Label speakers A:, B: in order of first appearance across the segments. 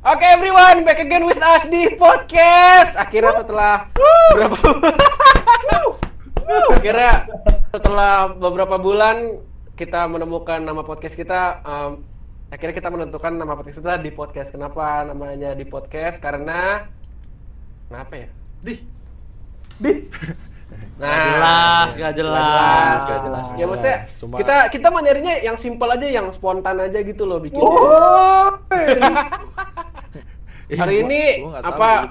A: Oke everyone, back again with us di podcast. Akhirnya setelah berapa Akhirnya setelah beberapa bulan kita menemukan nama podcast kita um, akhirnya kita menentukan nama podcast kita di podcast. Kenapa namanya di podcast? Karena kenapa ya?
B: Di.
A: Di. Nah,
C: Nggak jelas, nggak
A: Nggak
C: jelas.
A: jelas, nggak jelas. Ya maksudnya
B: Cuma-
A: kita kita mau nyarinya yang simpel aja, yang spontan aja gitu loh bikin.
B: Iya,
A: Hari ini apa?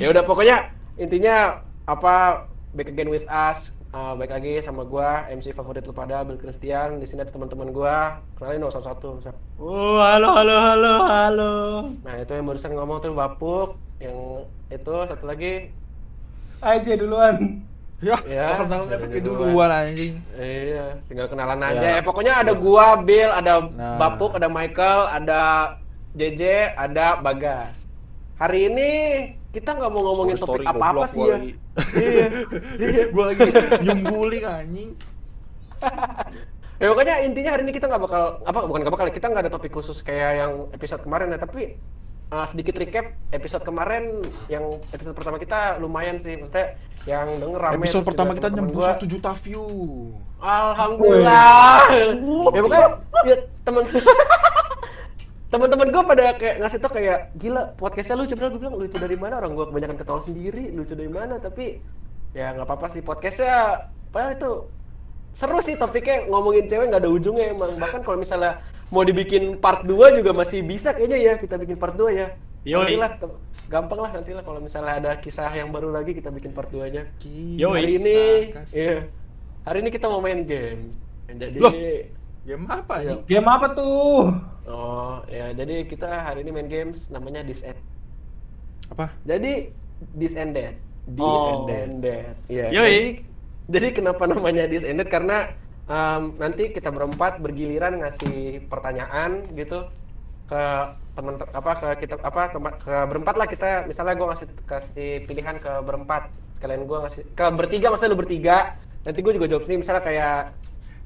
A: ya udah pokoknya intinya apa back again with us uh, baik lagi sama gua MC favorit lu pada Bill Christian di sini ada teman-teman gua kenalin dong satu-satu Sat.
C: Oh, halo, halo, halo, halo.
A: nah itu yang barusan ngomong tuh Bapuk yang itu satu lagi
C: Aja duluan.
B: Ya,
A: Ya,
B: ya kenalan pakai
A: duluan.
B: duluan anjing.
A: iya tinggal kenalan aja Eh,
B: Ya.
A: pokoknya ada gua Bill ada
B: Nah.
A: Bapuk ada Michael ada JJ ada Bagas hari ini kita nggak mau ngomongin
B: Story-story
A: topik apa-apa
B: goblok
A: sih
B: gua
A: ya
B: lagi.
A: iya iya
B: Gua lagi nyungguling anjing.
A: Ya pokoknya intinya hari ini kita nggak bakal apa bukan nggak bakal kita nggak ada topik khusus kayak yang episode kemarin ya tapi uh, sedikit recap episode kemarin yang episode pertama kita lumayan sih maksudnya yang denger rame
B: Episode
A: terus
B: pertama
A: juga
B: kita
A: teman-teman
B: nyembus
A: gua.
B: 1 juta view.
A: Alhamdulillah ya pokoknya ya, temen teman-teman gue pada kayak ngasih tau kayak gila podcastnya lucu padahal gue bilang lucu dari mana orang gue kebanyakan ketawa sendiri lucu dari mana tapi ya nggak apa-apa sih podcastnya padahal itu seru sih topiknya ngomongin cewek nggak ada ujungnya emang bahkan kalau misalnya mau dibikin part 2 juga masih bisa kayaknya ya kita bikin part 2 ya
C: Yoi.
A: nantilah tem- gampang lah nantilah kalau misalnya ada kisah yang baru lagi kita bikin part 2 nya
C: Yo,
A: hari
C: Yoi.
A: ini
B: sarkas.
A: iya. hari ini kita mau main game jadi
B: Loh. Game apa
A: Iya.
B: ya?
C: Game apa tuh?
A: oh ya jadi kita hari ini main games namanya this and
B: Apa?
A: jadi this and that this
C: Oh.
A: and that Iya,
C: Yoi.
A: jadi jadi kenapa namanya this and that karena em, nanti kita berempat bergiliran ngasih pertanyaan gitu ke teman apa ke kita apa ke, ke berempat lah kita misalnya gue ngasih kasih pilihan ke berempat sekalian gue ngasih ke bertiga maksudnya lu bertiga nanti gue juga jawab sendiri misalnya kayak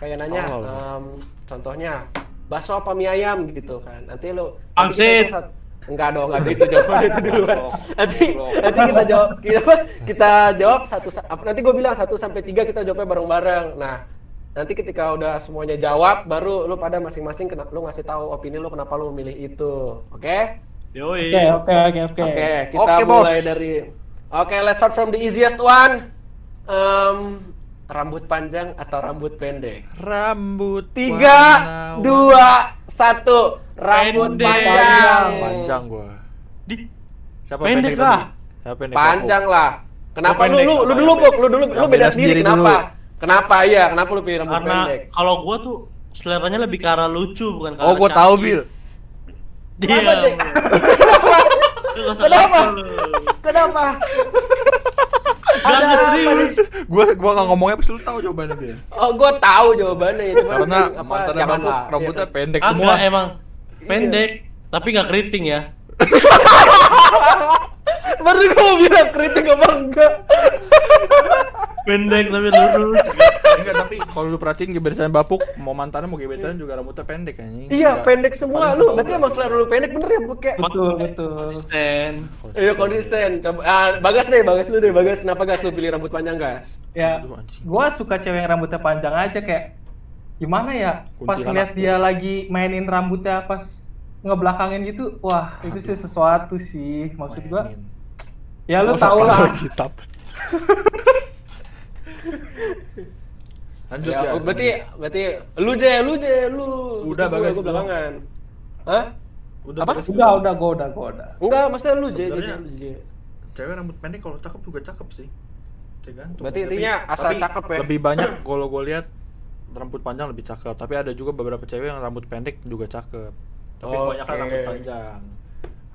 A: kayak nanya
B: Oh.
A: em, contohnya bakso apa mie ayam gitu kan nanti lu nanti
C: Pangsit.
A: kita jawab sat- enggak dong enggak gitu jawaban itu duluan
B: Goblok,
A: nanti
B: goblok.
A: nanti kita jawab kita, kita jawab satu sa- apa, nanti gue bilang satu sampai tiga kita jawabnya bareng-bareng nah nanti ketika udah semuanya jawab baru lu pada masing-masing kena lu ngasih tahu opini lu kenapa lu memilih itu oke
C: Yoi.
D: Oke, oke, oke, oke.
A: oke kita
B: Oke, bos.
A: mulai dari oke let's start from the easiest one Em, rambut panjang atau rambut pendek
B: Rambut
A: tiga
B: warna-
A: dua satu rambut
C: Pendek.
A: panjang
B: panjang gua.
C: Di.
B: Siapa
C: Pendek
B: pendek,
C: lah.
B: tadi? Siapa pendek?
A: Panjang lah. Kenapa
C: Gua
A: lu
C: pendek,
A: lu lu
C: gua
A: dulu
C: pendek.
A: Buk, lu dulu
B: Gua
A: lu beda sendiri kenapa? Kenapa iya, kenapa lu pilih rambut
C: Karena
A: pendek?
C: kalau gua tuh seleranya lebih ke arah lucu bukan ke
B: Oh,
C: arah
B: gua
C: cantik.
B: tahu, Bil.
C: Dia.
A: Apa, Cek?
C: Lu nggak usah
A: Kenapa?
C: lucu lu.
A: Kenapa?
C: Nggak
A: Ada apa
C: serius.
B: Gua gua enggak ngomongnya pasti lu tahu jawabannya, Bil.
A: Oh, gua tahu jawabannya cuma
B: Karena
A: apa,
B: mantannya
A: janganlah.
B: Bapuk
A: Iya,
B: rambutnya
A: kan?
B: pendek semua.
C: Agak emang pendek, tapi nggak keriting ya.
A: Baru gua mau bilang kritik apa enggak?
C: Pendek tapi lurus.
B: Enggak, tapi kalau lu perhatiin gebetan Bapuk, mau mantannya mau gebetan juga rambutnya pendek anjing.
A: Iya,
B: Enggak.
A: pendek semua lu.
B: Paling setahun
A: Berarti
B: doang.
A: emang selera lu pendek bener ya, Buk? Kayak-
D: Betul, betul.
C: Konsisten.
A: Iya, konsisten. Coba ah, Bagas deh, Bagas lu deh, Bagas. Kenapa Gas lu pilih rambut panjang, Gas?
D: Ya,
B: Aduh, anjing.
D: gua suka cewek yang rambutnya panjang aja kayak gimana ya?
B: Kuntilanak.
D: Pas ngeliat dia lagi mainin rambutnya pas ngebelakangin gitu, wah itu sih sesuatu sih maksud gua.
B: Mainin.
D: Ya lu
B: Terus apa
D: tau lah.
B: lagi, Tap? Lanjut ya.
A: Ya, berarti berarti lu je, lu je, lu.
B: Udah,
A: Gua- gua
B: Bagas, belum.
A: belakangan. Hah?
B: udah
A: apa?
B: beres
D: Udah,
B: belum?
D: udah, gua udah, gua udah.
A: Enggak, maksudnya lu je, je,
B: Sebenarnya-
A: je, je.
B: Cewek rambut pendek kalau cakep juga cakep sih. Tergantung.
A: Berarti
B: Tapi-
A: intinya asal
B: tapi
A: cakep ya?
B: Lebih banyak kalau gue lihat rambut panjang lebih cakep, tapi ada juga beberapa cewek yang rambut pendek juga cakep. Tapi
A: Oke.
B: kebanyakan rambut panjang.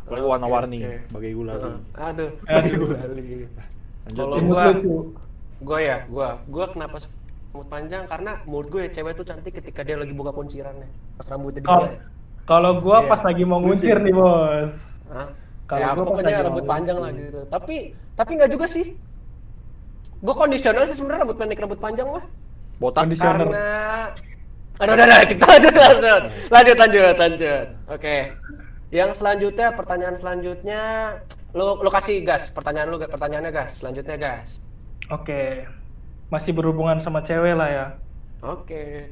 B: Apalagi warna-warni,
A: oke.
B: bagai gulali.
A: Heeh. Aduh,
D: Aduh.
A: gulali.
B: Lanjut.
A: Ya, gitu. Kalau
B: Bin.
D: Rambut
A: gua-
D: lucu.
A: Gua ya, gua, gua kenapa se- rambut panjang karena menurut gue cewek tuh cantik ketika dia lagi buka kuncirannya pas rambutnya ya. dia
D: Kalau kalau gua
A: Iya.
D: pas lagi mau nguncir nih bos.
A: Hah?
D: Kalau
A: ya,
D: gua
A: pokoknya
D: panjang
A: rambut
D: banget
A: panjang
D: sih.
A: lah gitu tapi tapi nggak juga sih gue kondisional sih sebenarnya rambut pendek rambut panjang mah
B: Botak.
D: Kondisi- Conditioner.
A: karena aduh udah udah kita lanjut lanjut lanjut lanjut lanjut oke Yang selanjutnya, pertanyaan selanjutnya, lu lu kasih gas, pertanyaan lu pertanyaannya gas, selanjutnya gas.
D: Oke. Masih berhubungan sama cewek lah ya.
A: Oke.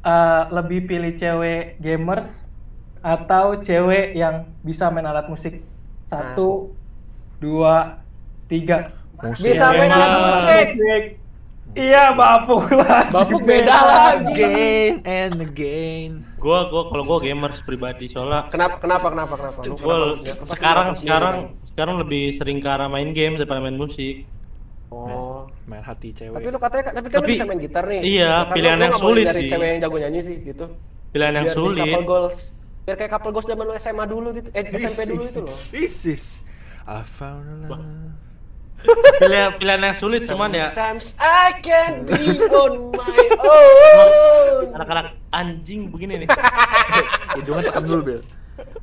D: Eh, lebih pilih cewek gamers atau cewek yang bisa main alat musik? Satu, dua, tiga.
B: Musik.
A: Bisa main alat
D: Gamer.
A: musik.
D: Iya, bapuk lah.
A: Babuk beda lagi.
B: Again and again.
C: Gua gua kalau gua gamers pribadi soalnya
A: Kenapa kenapa kenapa kenapa? Lu
C: gua
A: kenapa?
C: l-
A: Ya, pasti
C: sekarang
A: lu
C: sekarang
A: sendiri
C: sekarang lebih sering ke arah main game daripada main musik.
A: kan? Oh.
B: Main hati cewek.
A: Tapi lu katanya tapi kan lu
C: Tapi-
A: bisa main gitar nih.
C: iya,
A: Kan lu-
C: pilihan
A: lu
C: yang
A: nggak mau
C: sulit
A: dari
C: sih.
A: cewek yang jago nyanyi sih gitu.
C: Pilihan yang
A: Biar di
C: sulit.
A: Couple goals. Biar kayak couple goals zaman lu SMA dulu gitu. Eh SMP dulu itu loh.
B: This is I found a love.
C: Pilihan pilihan yang sulit cuman ya
A: Sometimes I can be on my own.
C: anak-anak anjing begini nih.
B: Hidungnya tekan dulu, Bill.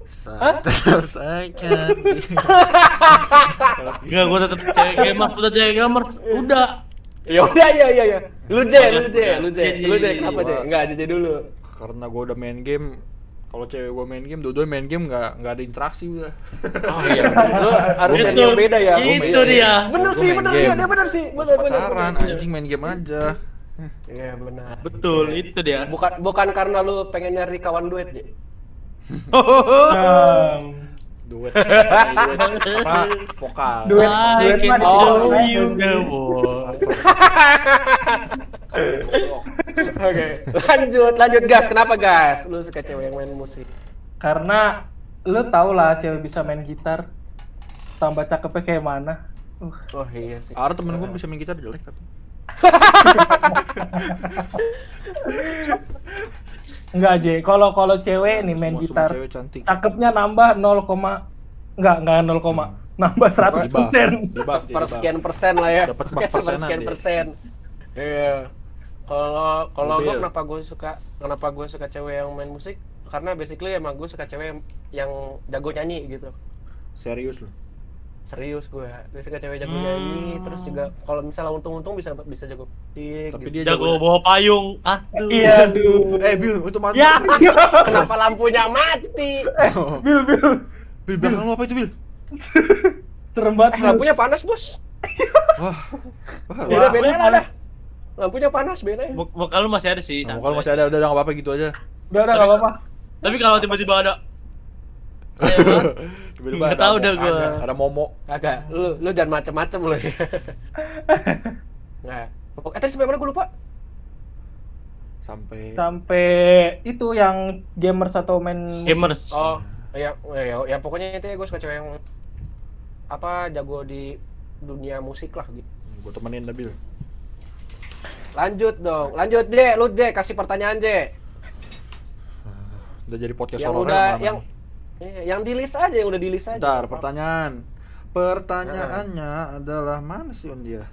B: Sometimes I can be.
C: Enggak, gua tetap cewek gamer, tetap cewek gamer. Udah.
A: Ya udah ya ya ya. Lu J, lu J, lu J,
C: Iya, iya,
A: lu J
C: iya, iya.
A: kenapa J? Enggak, J dulu.
B: Karena gue udah main game, kalau cewek gue main game, dua-dua main game nggak nggak ada interaksi udah.
A: Oh iya. Lu harus dari yang beda ya.
C: Itu
A: Gua beda.
C: Gitu. dia.
A: Bener
B: Gua
A: sih,
B: main
A: bener
B: game.
A: sih, dia bener sih.
B: Gak
A: Bener,
B: usah
A: bener, Iya.
B: pacaran,
A: bener.
B: anjing main game aja.
A: Iya, benar.
C: Betul, itu dia.
A: Bukan bukan karena lu pengen nyari kawan duet, J.
B: Duet, duet, apa vokal.
D: Duet,
C: I
D: duet mah
C: can
D: di
C: show
A: Oh,
C: you the world.
A: Oke, lanjut, lanjut gas. Kenapa gas? Lu suka cewek yang main musik.
D: Karena lu tau lah cewek bisa main gitar tambah cakepnya kayak mana. Uh,
A: Oh iya sih.
B: Ara temen gue bisa main gitar jelek tapi.
D: enggak aja. Kalau kalau cewek nih main
B: Semua- semua
D: gitar,
B: cewek cantik.
D: cakepnya nambah 0, enggak enggak 0, nambah 100
B: Di-buff,
D: persen.
B: di-buff,
A: per
B: di-buff.
A: sekian persen lah ya.
B: Dapat
A: Kayak
B: bak
A: sepersekian
B: persenan
A: persen. Iya. Kalau kalau gue
B: Mobil.
A: kenapa gue suka kenapa gue suka cewek yang main musik? Karena basically emang gue suka cewek yang, yang jago nyanyi gitu.
B: Serius lu.
A: Serius gue, gue suka cewek jago nyanyi. Terus juga kalau misalnya untung-untung bisa bisa jago musik.
B: Tapi
A: gitu.
B: dia ya.
C: Jago bawa payung. Ah, tuh.
D: Iya, aduh.
B: Eh Bill, untuk mati.
D: Ya,
A: Kenapa lampunya mati?
D: Bil, Bil.
B: Bill, belakang lu apa itu Bill?
D: Serem
A: Eh,
D: banget. Bil.
A: lampunya panas bos.
B: Wah, wah.
A: Beda
D: Wah,
A: beda lah
D: panas.
A: dah. Lampunya panas beda.
C: Muk- Muka lu masih ada sih.
B: Nah,
C: santai.
B: kalau masih ada udah udah nggak apa-apa gitu aja.
D: Udah, udah, nggak apa-apa.
C: Tapi kalau tiba-tiba ada
B: Tiba-tiba
C: Nggak tahu dah gua.
B: ada- Ada Momo.
A: Kagak, lu lu jangan macem-macem lu ya. nah, pokok- eh tadi sampai mana gue lupa?
B: Sampai
D: Sampai itu yang gamers atau main
C: gamers.
A: Oh, ya, ya, ya pokoknya itu ya gue suka cewek yang apa jago di dunia musik lah gitu.
B: gue temenin dah Bill.
A: Lanjut dong, lanjut deh, lu deh kasih pertanyaan deh.
B: Udah jadi podcast
A: Yang
B: horor
A: udah yang eh, yang di list aja yang udah di list aja.
B: Bentar, pertanyaan. Pertanyaannya adalah mana sih on dia?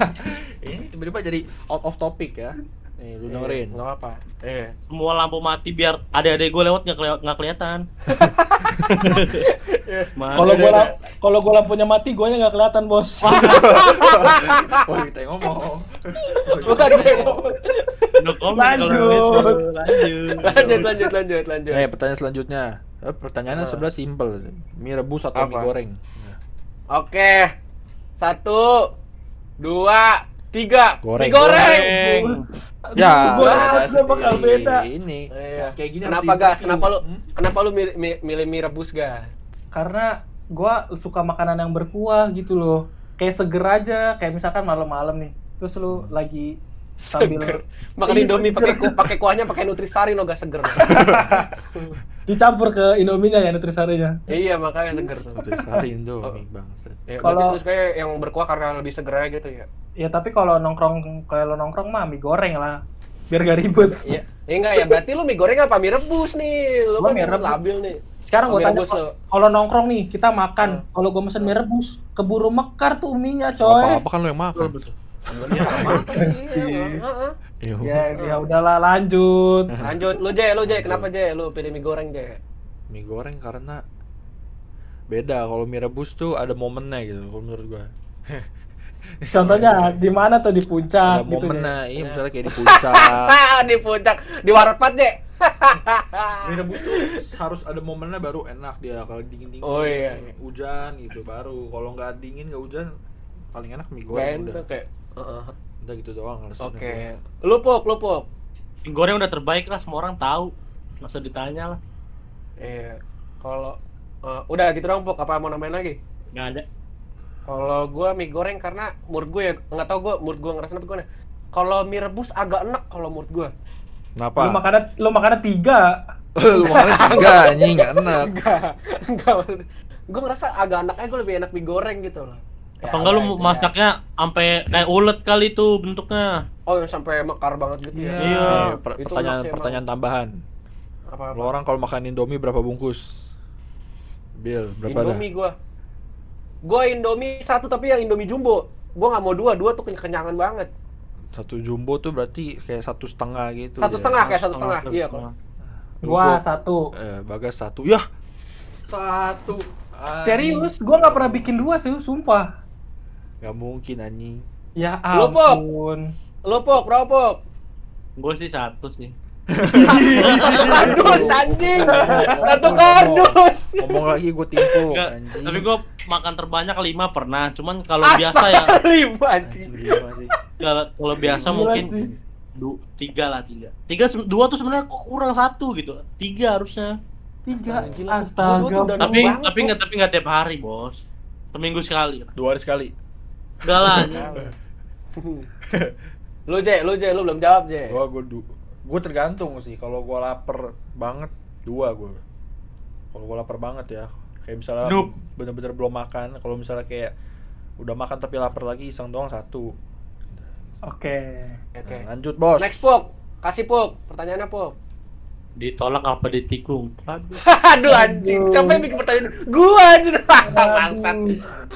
B: Ini tiba-tiba jadi out of topic ya. Nih,
D: Iya.
B: lu dengerin.
A: Enggak apa. Eh.
C: Semua lampu mati biar adik-adik gue lewat nggak keli- nggak kelihatan. Mana
D: Kalau
C: ada-
D: gua lam- kalau gua lampunya mati, guanya nggak kelihatan, Bos.
B: Oh, kita yang ngomong.
A: Bukan gue mau.
C: no comment kalau
D: Lanjut.
C: gitu. Lanjut.
A: Lanjut, lanjut, lanjut, lanjut.
B: Nah, pertanyaan selanjutnya. Eh, Pertanyaannya sebelah simple. Mie rebus atau mie
A: Apa?
B: goreng? Nah.
A: Oke. Satu, dua, tiga.
B: Goreng.
A: Digoreng.
C: Goreng.
B: Ya,
D: gua
B: ada
D: rasa bakal
B: sendiri.
D: beda.
B: Ini.
A: Iya.
B: Kayak gini harus
A: kenapa gas?
B: di-interview.
A: Kenapa lu
B: Hmm?
A: kenapa lu milih mi- milih mie rebus gas?
D: Karena gua suka makanan yang berkuah gitu loh. Kayak seger aja, kayak misalkan malam-malam nih. Terus lu lagi
A: Seger.
D: sambil
A: Makan
D: Iya,
A: Indomie
D: seger.
A: pakai ku- pakai kuahnya pakai nutrisari lo gak seger.
D: dicampur ke Indominya ya nutrisarinya.
A: iya, makanya seger.
B: Itu sari Indomie, Bang.
A: Ya, berarti
D: Kalau-
A: lu suka yang berkuah karena lebih seger aja gitu ya.
D: Ya tapi kalau nongkrong kalau nongkrong mah mie goreng lah. Biar gak ribet.
A: Iya. Ya, enggak ya, berarti lu mie goreng apa mie rebus nih? Lu
D: Gua
A: kan
D: mie rebus.
A: labil nih.
D: Sekarang gua
A: Mie
D: tanya
A: rebus
D: kalau-
A: lo.
D: kalau nongkrong nih kita
A: Hmm.
D: makan. Kalau gua mesen mie rebus, keburu mekar tuh uminya,
B: Apa
D: coy.
B: apa kan lu yang makan.
A: Sebenarnya apa sih? Iya, heeh.
B: Iya.
D: Ya, ya udahlah lanjut.
A: Lanjut, lu Jay, lu Jay, kenapa Jay? Lu pilih mie goreng Jay.
B: Mie goreng karena beda kalau mie rebus tuh ada momennya gitu kalau menurut gua.
D: Contohnya di mana tuh di
B: ada
D: puncak
B: ya.
D: gitu. deh.
A: Ya.
B: momennya, iya misalnya kayak di puncak.
A: Ah, di puncak, di warpat Jay.
B: Direbus tuh harus ada momennya baru enak dia kalau dingin dingin
A: Oh, iya.
B: hujan gitu baru kalau nggak dingin nggak hujan paling enak mie
A: Ben
B: goreng
A: tuh
B: udah
A: kayak heeh.
B: udah gitu doang alasannya
A: Oke. Lu pok, lu pok.
C: Mie goreng udah terbaik lah, semua orang tahu. Masa ditanya lah.
A: Iya. Kalau eh, udah gitu dong pok, apa mau nambahin lagi?
C: Nggak ada.
A: Kalau gua mie goreng karena menurut gue ya nggak tau gue menurut gue ngerasa apa gue Kalau mie rebus agak enak kalau menurut gue.
B: kenapa
D: Lu makannya lu makannya tiga.
B: lu makan tiga anjing nggak enak
A: Enggak, enggak maksudnya. Gue ngerasa agak enaknya gue lebih enak mie goreng gitu loh. Ya,
C: Apa enggak lu
A: ada itu
C: masaknya sampai kayak ulet kali itu bentuknya.
A: ya. Oh, yang sampai mekar banget gitu ya.
D: Iya. Iya,
B: Eh, per-
A: Itu
B: pertanyaan
A: maksudnya
B: pertanyaan tambahan
A: emang apa
B: lu orang kalau makan indomie berapa bungkus Bill berapa dah
A: Indomie gua. Gua Indomie satu tapi yang Indomie jumbo. Gua nggak mau dua, dua tuh kenyangan banget.
B: satu jumbo tuh berarti kayak satu setengah gitu
A: Satu
B: ya.
A: setengah kayak satu setengah. Iya kalau.
B: Lu
D: Gua
B: gua-
D: satu.
B: eh, bagas satu yah satu
A: Nah,
D: Serius, gua nggak pernah bikin dua sih, sumpah.
B: nggak mungkin anjing
D: Ya
A: Lu, Pop.
D: ampun.
A: Lu pok, berapa pok?
C: Gue sih satu sih.
A: Satu kardus anjing. Satu kardus.
B: ngomong lagi gue
D: Oh,
B: timpuk
C: Nggak,
B: anjing
C: tapi gue makan terbanyak lima pernah. Cuman kalau biasa ya,
A: Astaga, ribu
B: anjing
A: anjing.
B: lima sih
C: kalau kalau biasa
D: Gila
C: mungkin
D: sih.
C: du- tiga lah tiga. Tiga se- dua tuh sebenarnya kok kurang satu gitu. Tiga harusnya.
D: Tiga.
A: Gila, gua tuh
D: Astaga.
A: udah-
C: Tapi
A: banget,
C: tapi
A: Bu.
C: nggak tapi nggak tiap hari bos. Seminggu sekali. lah.
B: dua hari sekali
C: Udah lah.
A: Lu J, lu J, lu belum jawab J.
B: gua gue gue tergantung sih kalau gue lapar banget dua gue kalau gue lapar banget ya kayak misalnya
C: Snoop.
B: bener-bener belum makan kalau misalnya kayak udah makan tapi lapar lagi iseng doang satu
D: Oke.
A: Oke.
B: Nah, lanjut bos
A: Next pok. Kasih pok. Pertanyaannya pok.
C: Ditolak apa ditikung? Aduh.
A: Aduh anjing, siapa yang bikin pertanyaan? Gua anjing. Bangsat.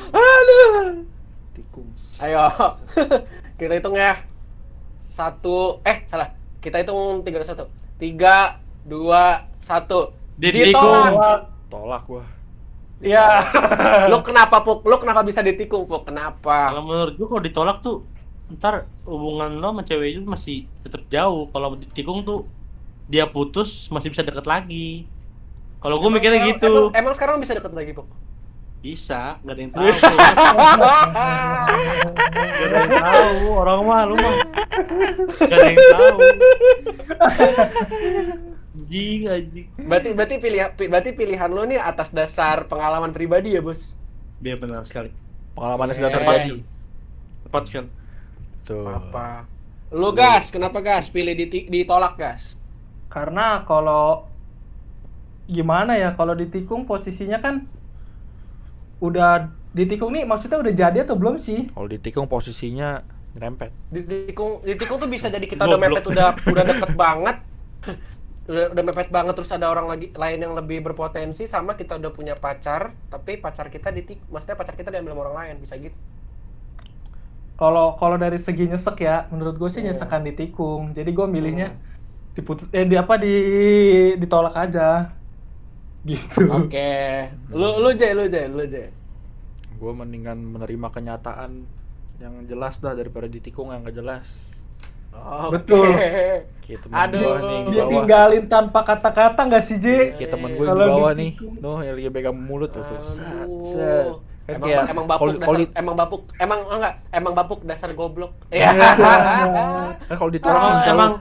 A: Aduh.
B: tikung
A: Ayo, kita hitung ya. Satu, eh salah. Kita hitung tiga, dua, satu. Tiga, dua, satu.
C: Ditikung.
A: Ditolak.
B: tolak gue
D: Ya.
A: Lo kenapa puk? Lo kenapa bisa ditikung puk? Kenapa?
C: Kalau menurut gua kalau ditolak tuh ntar hubungan lo sama cewek itu masih tetap jauh. Kalau ditikung tuh dia putus masih bisa deket lagi. Kalau gua mikirnya
A: Emang,
C: gitu,
A: emang sekarang bisa deket lagi puk?
C: bisa nggak ada yang tahu. Gak ada yang tahu orang mah lu mah. Gak ada yang tahu. Anjing anjing.
A: berarti berarti pilihan berarti pilihan lo nih atas dasar pengalaman pribadi ya bos.
C: Dia benar sekali.
B: pengalamannya sudah
A: Eh.
B: terjadi
C: Tepat sekali.
B: tuh
A: Apa? Lo gas, kenapa gas? Pilih diti- ditolak gas.
D: Karena kalau gimana ya kalau ditikung posisinya kan udah ditikung nih maksudnya udah jadi atau belum sih?
B: kalau ditikung posisinya rempet
A: ditikung ditikung tuh bisa jadi kita udah
C: Goblok.
A: mepet udah udah deket banget udah, udah mepet banget terus ada orang lagi lain yang lebih berpotensi sama kita udah punya pacar tapi pacar kita ditik maksudnya pacar kita diambil sama orang lain bisa gitu
D: Kalau kalau dari segi nyesek ya menurut gue sih
A: Iya.
D: nyesekan ditikung. Jadi gue milihnya diputus eh di apa di ditolak aja. Gitu.
A: oke lu lu Jay, lu Jay, lu Jay.
B: gue mendingan menerima kenyataan yang jelas dah daripada ditikung yang gak jelas
A: Oke.
D: Betul.
B: kayak temen
A: Aduh,
B: gue nih yang di
D: Dia
A: Bawah. Iya.
D: tinggalin tanpa kata-kata nggak sih, J?
B: Iya, kayak temen gue yang
D: Kalau
B: di bawah
D: ditikung.
B: nih noh yang lagi pegang mulut tuh tuh set
A: Aduh.
B: set kan
A: Emang,
B: kayak
A: emang
B: kalau
A: bapuk dasar,
B: kalau di-
A: emang bapuk, emang oh enggak, emang bapuk dasar goblok.
B: Iya.
A: Ya.
B: kan kalau
A: Ah,
B: ditolak kan misalnya
C: emang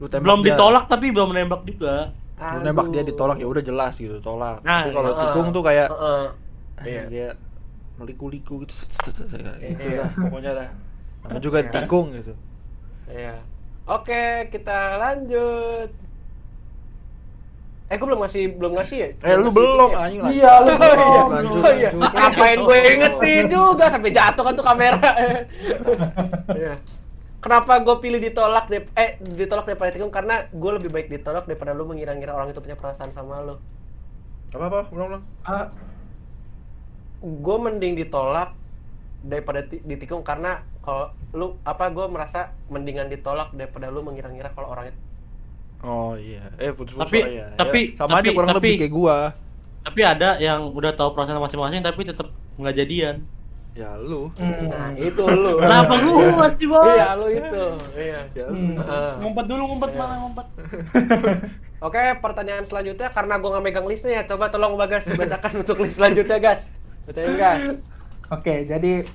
B: lu tembak
C: belum
B: dia,
C: ditolak tapi belum nembak juga.
B: lu nembak dia ditolak ya udah jelas gitu tolak
C: Nah,
B: tapi kalau
A: iya.
B: tikung tuh kayak
A: Heeh.
B: ah,
A: Iya.
B: kayak meliku-liku gitu set, set, set, set, gitu
A: Iya.
B: dah pokoknya dah sama juga tikung gitu
A: Iya. Oke, kita lanjut. Eh, gue belum ngasih belum ngasih ya?
B: eh
A: ngasih
B: lu belum
A: tips ya?
B: anjing
D: Iya, lu
B: lanjut,
D: belum.
B: lanjut
A: Oh iya.
B: lanjut
A: Ngapain gue ingetin juga sampai jatuh kan tuh kamera. Iya. Kenapa gue pilih ditolak deh? Eh, ditolak daripada tikung karena gue lebih baik ditolak daripada lu mengira-ngira orang itu punya perasaan sama lu.
B: apa apa ulang ulang
D: Ah,
A: Gue mending ditolak daripada ti- ditikung karena kalau lu apa gue merasa mendingan ditolak daripada lu mengira-ngira kalau orang itu
B: oh iya eh putus-putus
C: Tapi-
B: suara ya.
C: tapi-
B: Ya, sama aja
C: tapi-
B: kurang
C: tapi-
B: lebih kayak gua
C: Tapi ada yang udah tahu proses masing-masing tapi tetap nggak jadian.
B: ya lu
A: Nah,
D: Hmm.
A: itu lu.
C: Kenapa gua sih, Bang?
A: Iya, lu itu. Iya.
B: ya lu
D: Hmm.
A: Heeh.
C: Ngumpet dulu, ngumpet
A: Iya.
C: malah ngumpet.
A: Oke, pertanyaan selanjutnya karena gua nggak megang listnya ya, coba tolong Bagas bacakan untuk list selanjutnya, Gas. Bacain, Gas.
D: Oke, jadi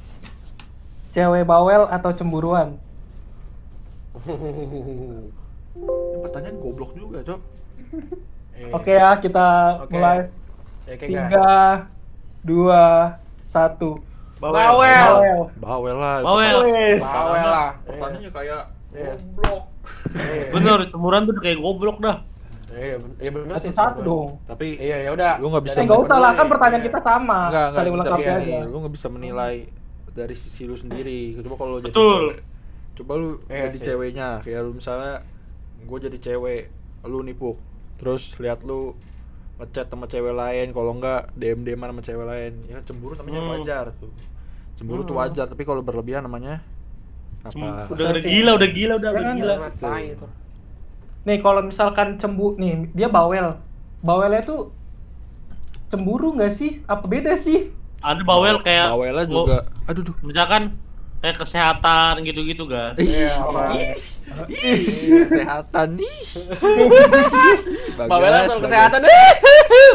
D: cewek bawel atau cemburuan?
B: Ini pertanyaan goblok juga cok
D: Oke ya, kita
A: Iya. Oke.
D: mulai.
A: Iya, Oke, Gas.
D: Tiga, dua, satu.
B: ya.
A: Bawel.
D: Bawel.
B: bawel lah
C: Bawel.
D: Wes.
A: Bawel lah.
B: pertanyaannya kayak
A: Iya.
B: goblok
A: Iya.
C: Bener, cemuran tuh kayak goblok dah.
A: Iya, ben- iya bener sih.
D: Satu-satu dong.
B: tapi
A: Iya, ya udah.
B: Lu nggak bisa
D: Eh,
A: Dari-
D: nggak usah lah, kan
A: Iya. gitu,
D: pertanyaan kita sama.
B: enggak enggak
D: Saling
B: bentar
D: melengkapi
B: ya
D: aja.
B: nih lu nggak bisa menilai dari sisi lu sendiri coba kalau lu jadi
C: Betul.
B: cewek- coba lu
A: Iya
B: jadi
A: sih.
B: ceweknya kayak lu misalnya gue jadi cewek lu nipuk terus lihat lu ngechat sama cewek lain kalau enggak dm dm sama cewek lain ya cemburu namanya
C: Hmm.
B: wajar tuh cemburu tuh
A: Hmm.
B: wajar tapi kalau berlebihan namanya
C: Cem-
B: apa
C: udah, udah gila, udah gila, udah, udah
D: Jangan,
A: Iya,
C: gila.
A: sama tai itu.
D: Nih, kalau misalkan cembu, nih dia bawel. Bawelnya tuh cemburu nggak sih? Apa beda sih?
C: Ada bawel kayak
B: bawelnya
C: lu-
B: juga aduh duh
C: Misalkan kayak kesehatan gitu-gitu kan.
A: Iya,
B: Ih,
A: apa?
B: ih, ih, kesehatan nih
A: Bawel lah soal kesehatan. Eh,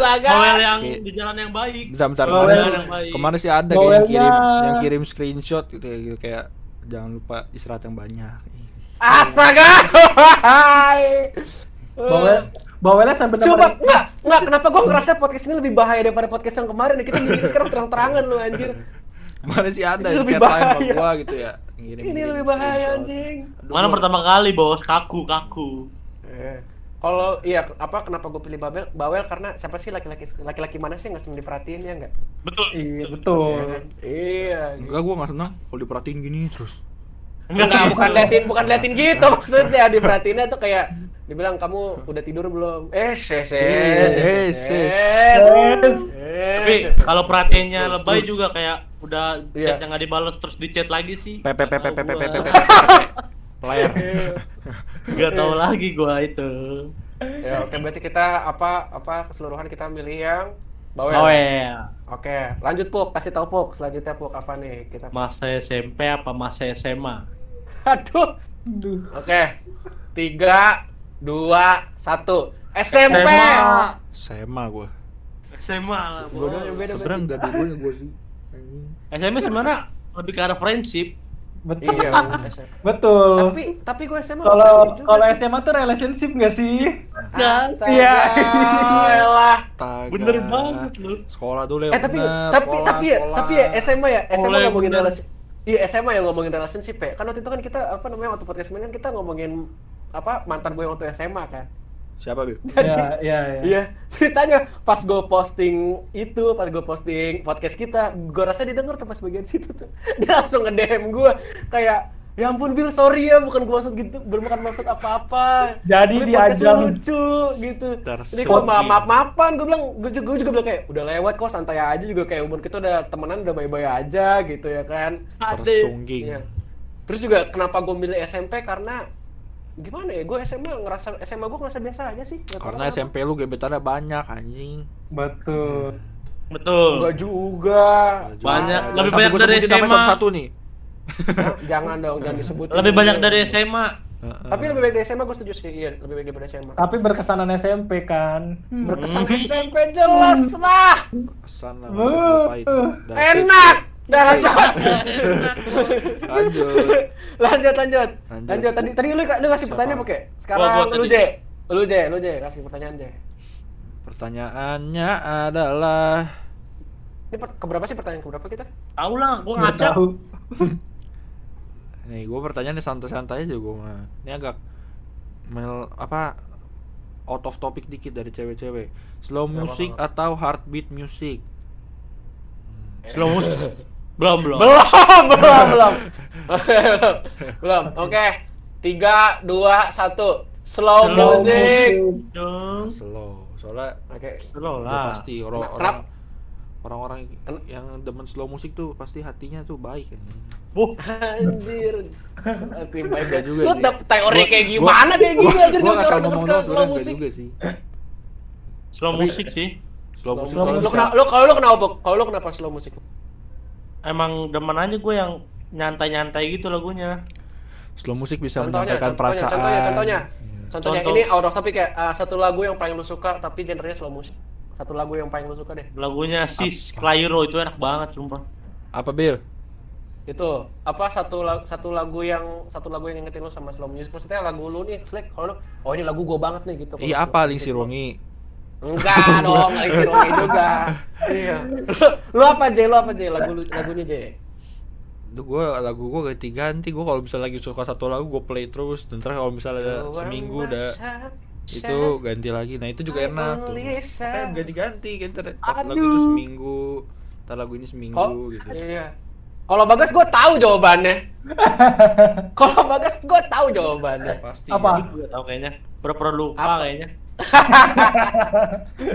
A: Bagas.
C: Bawel yang
B: Kayak-
C: di jalan yang baik.
B: Bentar, bentar.
D: Bawel
B: Kemarin sih,
C: yang baik.
B: kemarin sih ada kayak yang kirim
D: Bawelnya.
B: yang kirim screenshot gitu kayak, gitu, kayak jangan lupa istirahat yang banyak.
A: Astaga. Hai.
D: Bawel, bawelnya sampai
A: Coba enggak, enggak kenapa gua ngerasa podcast ini lebih bahaya daripada podcast yang kemarin ya? Kita bikin sekarang terang-terangan lu anjir.
B: Kemarin sih ada
A: Ini lebih
B: chat lain sama
A: bahaya.
B: gua gitu ya. Ngirim,
A: Ini
B: ngirim
A: lebih bahaya
B: screenshot.
A: anjing.
B: Aduh,
C: Mana
B: gua-
C: pertama kali bos kaku kaku.
A: Eh, Kalau iya apa kenapa gue pilih Babel? Bawel karena siapa sih laki-laki laki-laki mana sih yang nggak sering diperhatiin ya nggak?
C: Betul.
D: Iya,
A: Iya kan?
D: betul.
A: Iya.
B: Enggak gua enggak senang kalau diperhatiin gini terus.
A: Enggak, bukan liatin, bukan liatin gitu maksudnya diperhatiinnya tuh kayak dibilang kamu udah tidur belum? Eh, ses, ses,
B: Eh, ses.
A: ses, ses.
D: Ses.
C: Tapi
A: Ses, ses.
C: kalau perhatiannya
B: Terus,
C: lebay
B: terus.
C: juga kayak udah
A: Iya.
C: chat yang nggak dibalas terus di chat lagi sih.
B: Pe pe pe pe pe pe pe pe pe. Player.
A: Iya.
C: Gak tau lagi gua itu.
A: Ya, oke berarti kita apa apa keseluruhan kita milih yang bawel.
C: Bawel.
A: Oke, lanjut Puk, kasih tahu Puk selanjutnya Puk apa nih kita.
C: Masa SMP apa masa SMA?
A: Aduh.
D: Aduh.
A: Oke. Tiga, dua, satu. SMP.
B: Sema gua.
C: SMA lah. bos.
A: Bodohnya beda
B: Sebenarnya enggak di gua gua sih. Anjing.
C: SMA sebenarnya lebih ke arah friendship.
D: Betul.
A: Iya.
D: Betul.
A: tapi tapi gue SMA
D: kalau kalau SMA tuh relationship nggak sih?
A: Iya.
D: Iya.
A: Elah.
B: Astaga.
C: Bener banget lu.
B: Sekolah dulu ya.
A: Eh tapi
B: bener.
A: tapi
B: Sekolah,
A: tapi ya,
B: sekolah.
A: tapi ya SMA ya, SMA
C: Mulai
A: ngomongin
C: bener.
A: relasi. Iya, SMA yang ngomongin relationship ya. Kan waktu itu kan kita apa namanya waktu podcast kemarin kan kita ngomongin apa mantan gue yang waktu SMA kan.
B: Siapa, Bil?
D: Iya, iya, iya.
A: Iya, ceritanya pas gue posting itu, pas gue posting podcast kita, gue rasa didengar tuh pas bagian situ tuh. Dia langsung nge-DM gue kayak, ya ampun Bill, sorry ya, bukan gue maksud gitu, bukan maksud apa-apa. Tapi
D: Jadi
A: podcast lu
D: diajang.
A: lucu gitu. Jadi
B: Tersuki.
A: gue maaf-maafan, gue bilang, gue juga, gua juga bilang kayak, udah lewat kok, santai aja juga kayak umur kita udah temenan, udah bye-bye aja gitu ya kan.
B: Tersungging.
A: Iya. Terus juga kenapa gue milih SMP karena gimana ya gue SMA ngerasa SMA gue ngerasa biasa aja sih Nggak tahu
B: Karena
A: kenapa.
B: SMP lu gebetannya banyak anjing.
D: Betul.
A: Enggak
C: Betul.
A: juga. Ah,
C: Banyak,
B: Jangan
C: lebih
B: sampai
C: banyak
B: gua
C: dari
B: sebutin namanya
C: SMA.
B: Satu-satu nih.
A: jangan dong, jangan disebutin.
C: Lebih banyak dari SMA.
A: Tapi lebih baik dari SMA gue setuju sih. Iya, lebih baik daripada SMA.
D: Tapi berkesanan SMP kan. Hmm.
A: Berkesan SMP jelas lah.
B: Kesan lah,
D: nggak usah dilupain. Dah,
A: Enak. Dah
C: Iya.
A: lanjut.
B: Lanjut.
A: lanjut, lanjut.
B: Lanjut.
A: Lanjut. Tadi tadi lu lu kasih
B: Siapa?
A: pertanyaan apa, Ke?
C: Gua-
A: Sekarang
C: gua
A: lu
C: tadi.
A: J. Lu J, lu J, kasih pertanyaan J.
B: Pertanyaannya adalah
A: Ini per- keberapa sih pertanyaan keberapa kita?
C: Tahu lah, gua
D: Nggak
C: ngacak.
D: tahu.
B: Nih, gue pertanyaannya santai-santai aja gue mah. Ini agak mel apa out of topic dikit dari cewek-cewek. Slow
A: Nggak
B: music
A: apa-apa.
B: atau heartbeat music?
C: Belum. Belum, belum.
A: Belum, belum, belum. belum. Belum. Oke. Tiga, dua, satu. Slow,
C: Slow
A: music.
C: Dong.
B: Slow. Soalnya
A: Oke.
C: Belum
B: udah
C: lah.
B: pasti orang
A: Kenapa?
B: orang orang-orang
A: Ken-
B: yang demen slow music tuh pasti hatinya tuh baik anjing.
C: Buh,
A: Anjir. Tim baik
B: Enggak juga
A: juga Lu
B: sih.
A: dapet teori
B: Gua-
A: kayak
B: gua-
A: gimana kayak gini anjir
B: gua- Gua
A: dari
B: nggak salah
A: orang
B: ngomong
A: denger
B: doang
A: slow
B: sebenarnya enggak
A: musik.
B: juga sih.
C: slow
B: Tapi-
C: musik sih.
B: Slow music
A: Slow music.
B: soalnya
A: Lu
B: bisa Iya.
A: kena- lu kalau lu kenapa tuh? Kalau lu kenapa slow musik?
C: emang demen aja gue yang nyantai-nyantai gitu lagunya
B: Slow musik bisa
A: Contohnya,
B: menyampaikan
A: contohnya,
B: perasaan.
A: contohnya, contohnya.
B: Iya.
A: Contohnya
C: Contoh.
A: ini out of topic ya. eh, satu lagu yang paling lu suka tapi genrenya slow musik. Satu lagu yang paling lu suka deh.
C: lagunya sis Clairo itu enak banget sumpah
B: Apa Bill?
A: Itu apa satu lagu, satu lagu yang satu lagu yang ngingetin lu sama slow music. Maksudnya lagu lu nih, Slick, kalau lu oh ini lagu gua banget nih gitu.
B: Iya apa Lingsi Rongi?
A: Enggak dong, Alex Romi juga. Iya. Lu, lu apa J? Lu apa J? Lagu lu- lagunya J.
B: Duh gue lagu gue ganti-ganti gue kalau misalnya lagi suka satu lagu gue play terus dan ntar kalau misalnya ada seminggu udah itu ganti lagi nah itu juga enak tuh eh, ganti-ganti kan ntar lagu itu seminggu ntar lagu ini seminggu
A: Oh,
B: gitu
A: iya. Kalau Bagas gue tahu jawabannya. Kalau Bagas gue tahu jawabannya.
B: pasti
D: Apa?
B: ya.
C: gue tau kayaknya pura-pura lupa
A: Apa?
C: kayaknya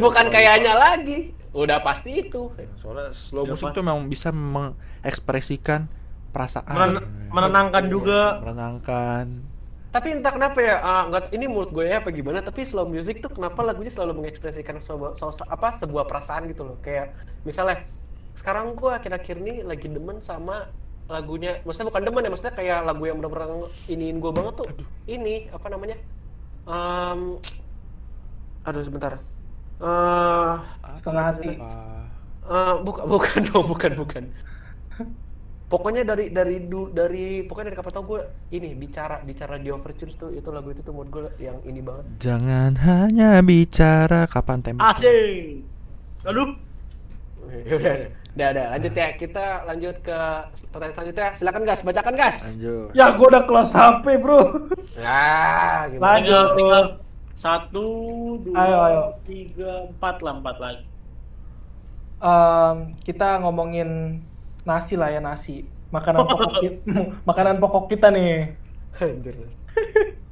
A: Bukan kayaknya lagi. Udah pasti itu.
B: soalnya slow
C: Iya,
B: musik
C: Pak.
B: tuh memang bisa mengekspresikan perasaan
C: Menen- menenangkan juga
B: menenangkan
A: Tapi entah kenapa ya, ah, nggak- ini menurut gue ya apa gimana, tapi slow music tuh kenapa lagunya selalu mengekspresikan sebuah, so- so- apa, sebuah perasaan gitu loh. Kayak misalnya, sekarang gue akhir-akhir ini lagi demen sama lagunya, maksudnya bukan demen ya, maksudnya kayak lagu yang bener-bener iniin gue banget tuh. Ini, apa namanya? Em, aduh sebentar. Eh,
D: setengah hati
B: Ah,
A: Eh, bukan bukan dong bukan bukan pokoknya dari dari du- dari pokoknya dari kapan tau gue ini bicara bicara di Overtures tuh itu lagu itu tuh menurut gue yang ini banget
B: jangan hanya bicara kapan tembak
C: asik lalu
A: ya udah udah udah lanjut ya kita lanjut ke pertanyaan selanjutnya silakan gas bacakan gas
B: lanjut
D: ya gue udah close HP bro
A: ah gimana?
D: Lanjut.
C: tinggal tinggal satu dua
D: Ayo, ayo.
C: tiga empat lah empat lagi
D: Em, kita ngomongin nasi lah ya nasi makanan pokok kita, makanan pokok kita nih
A: Anjir.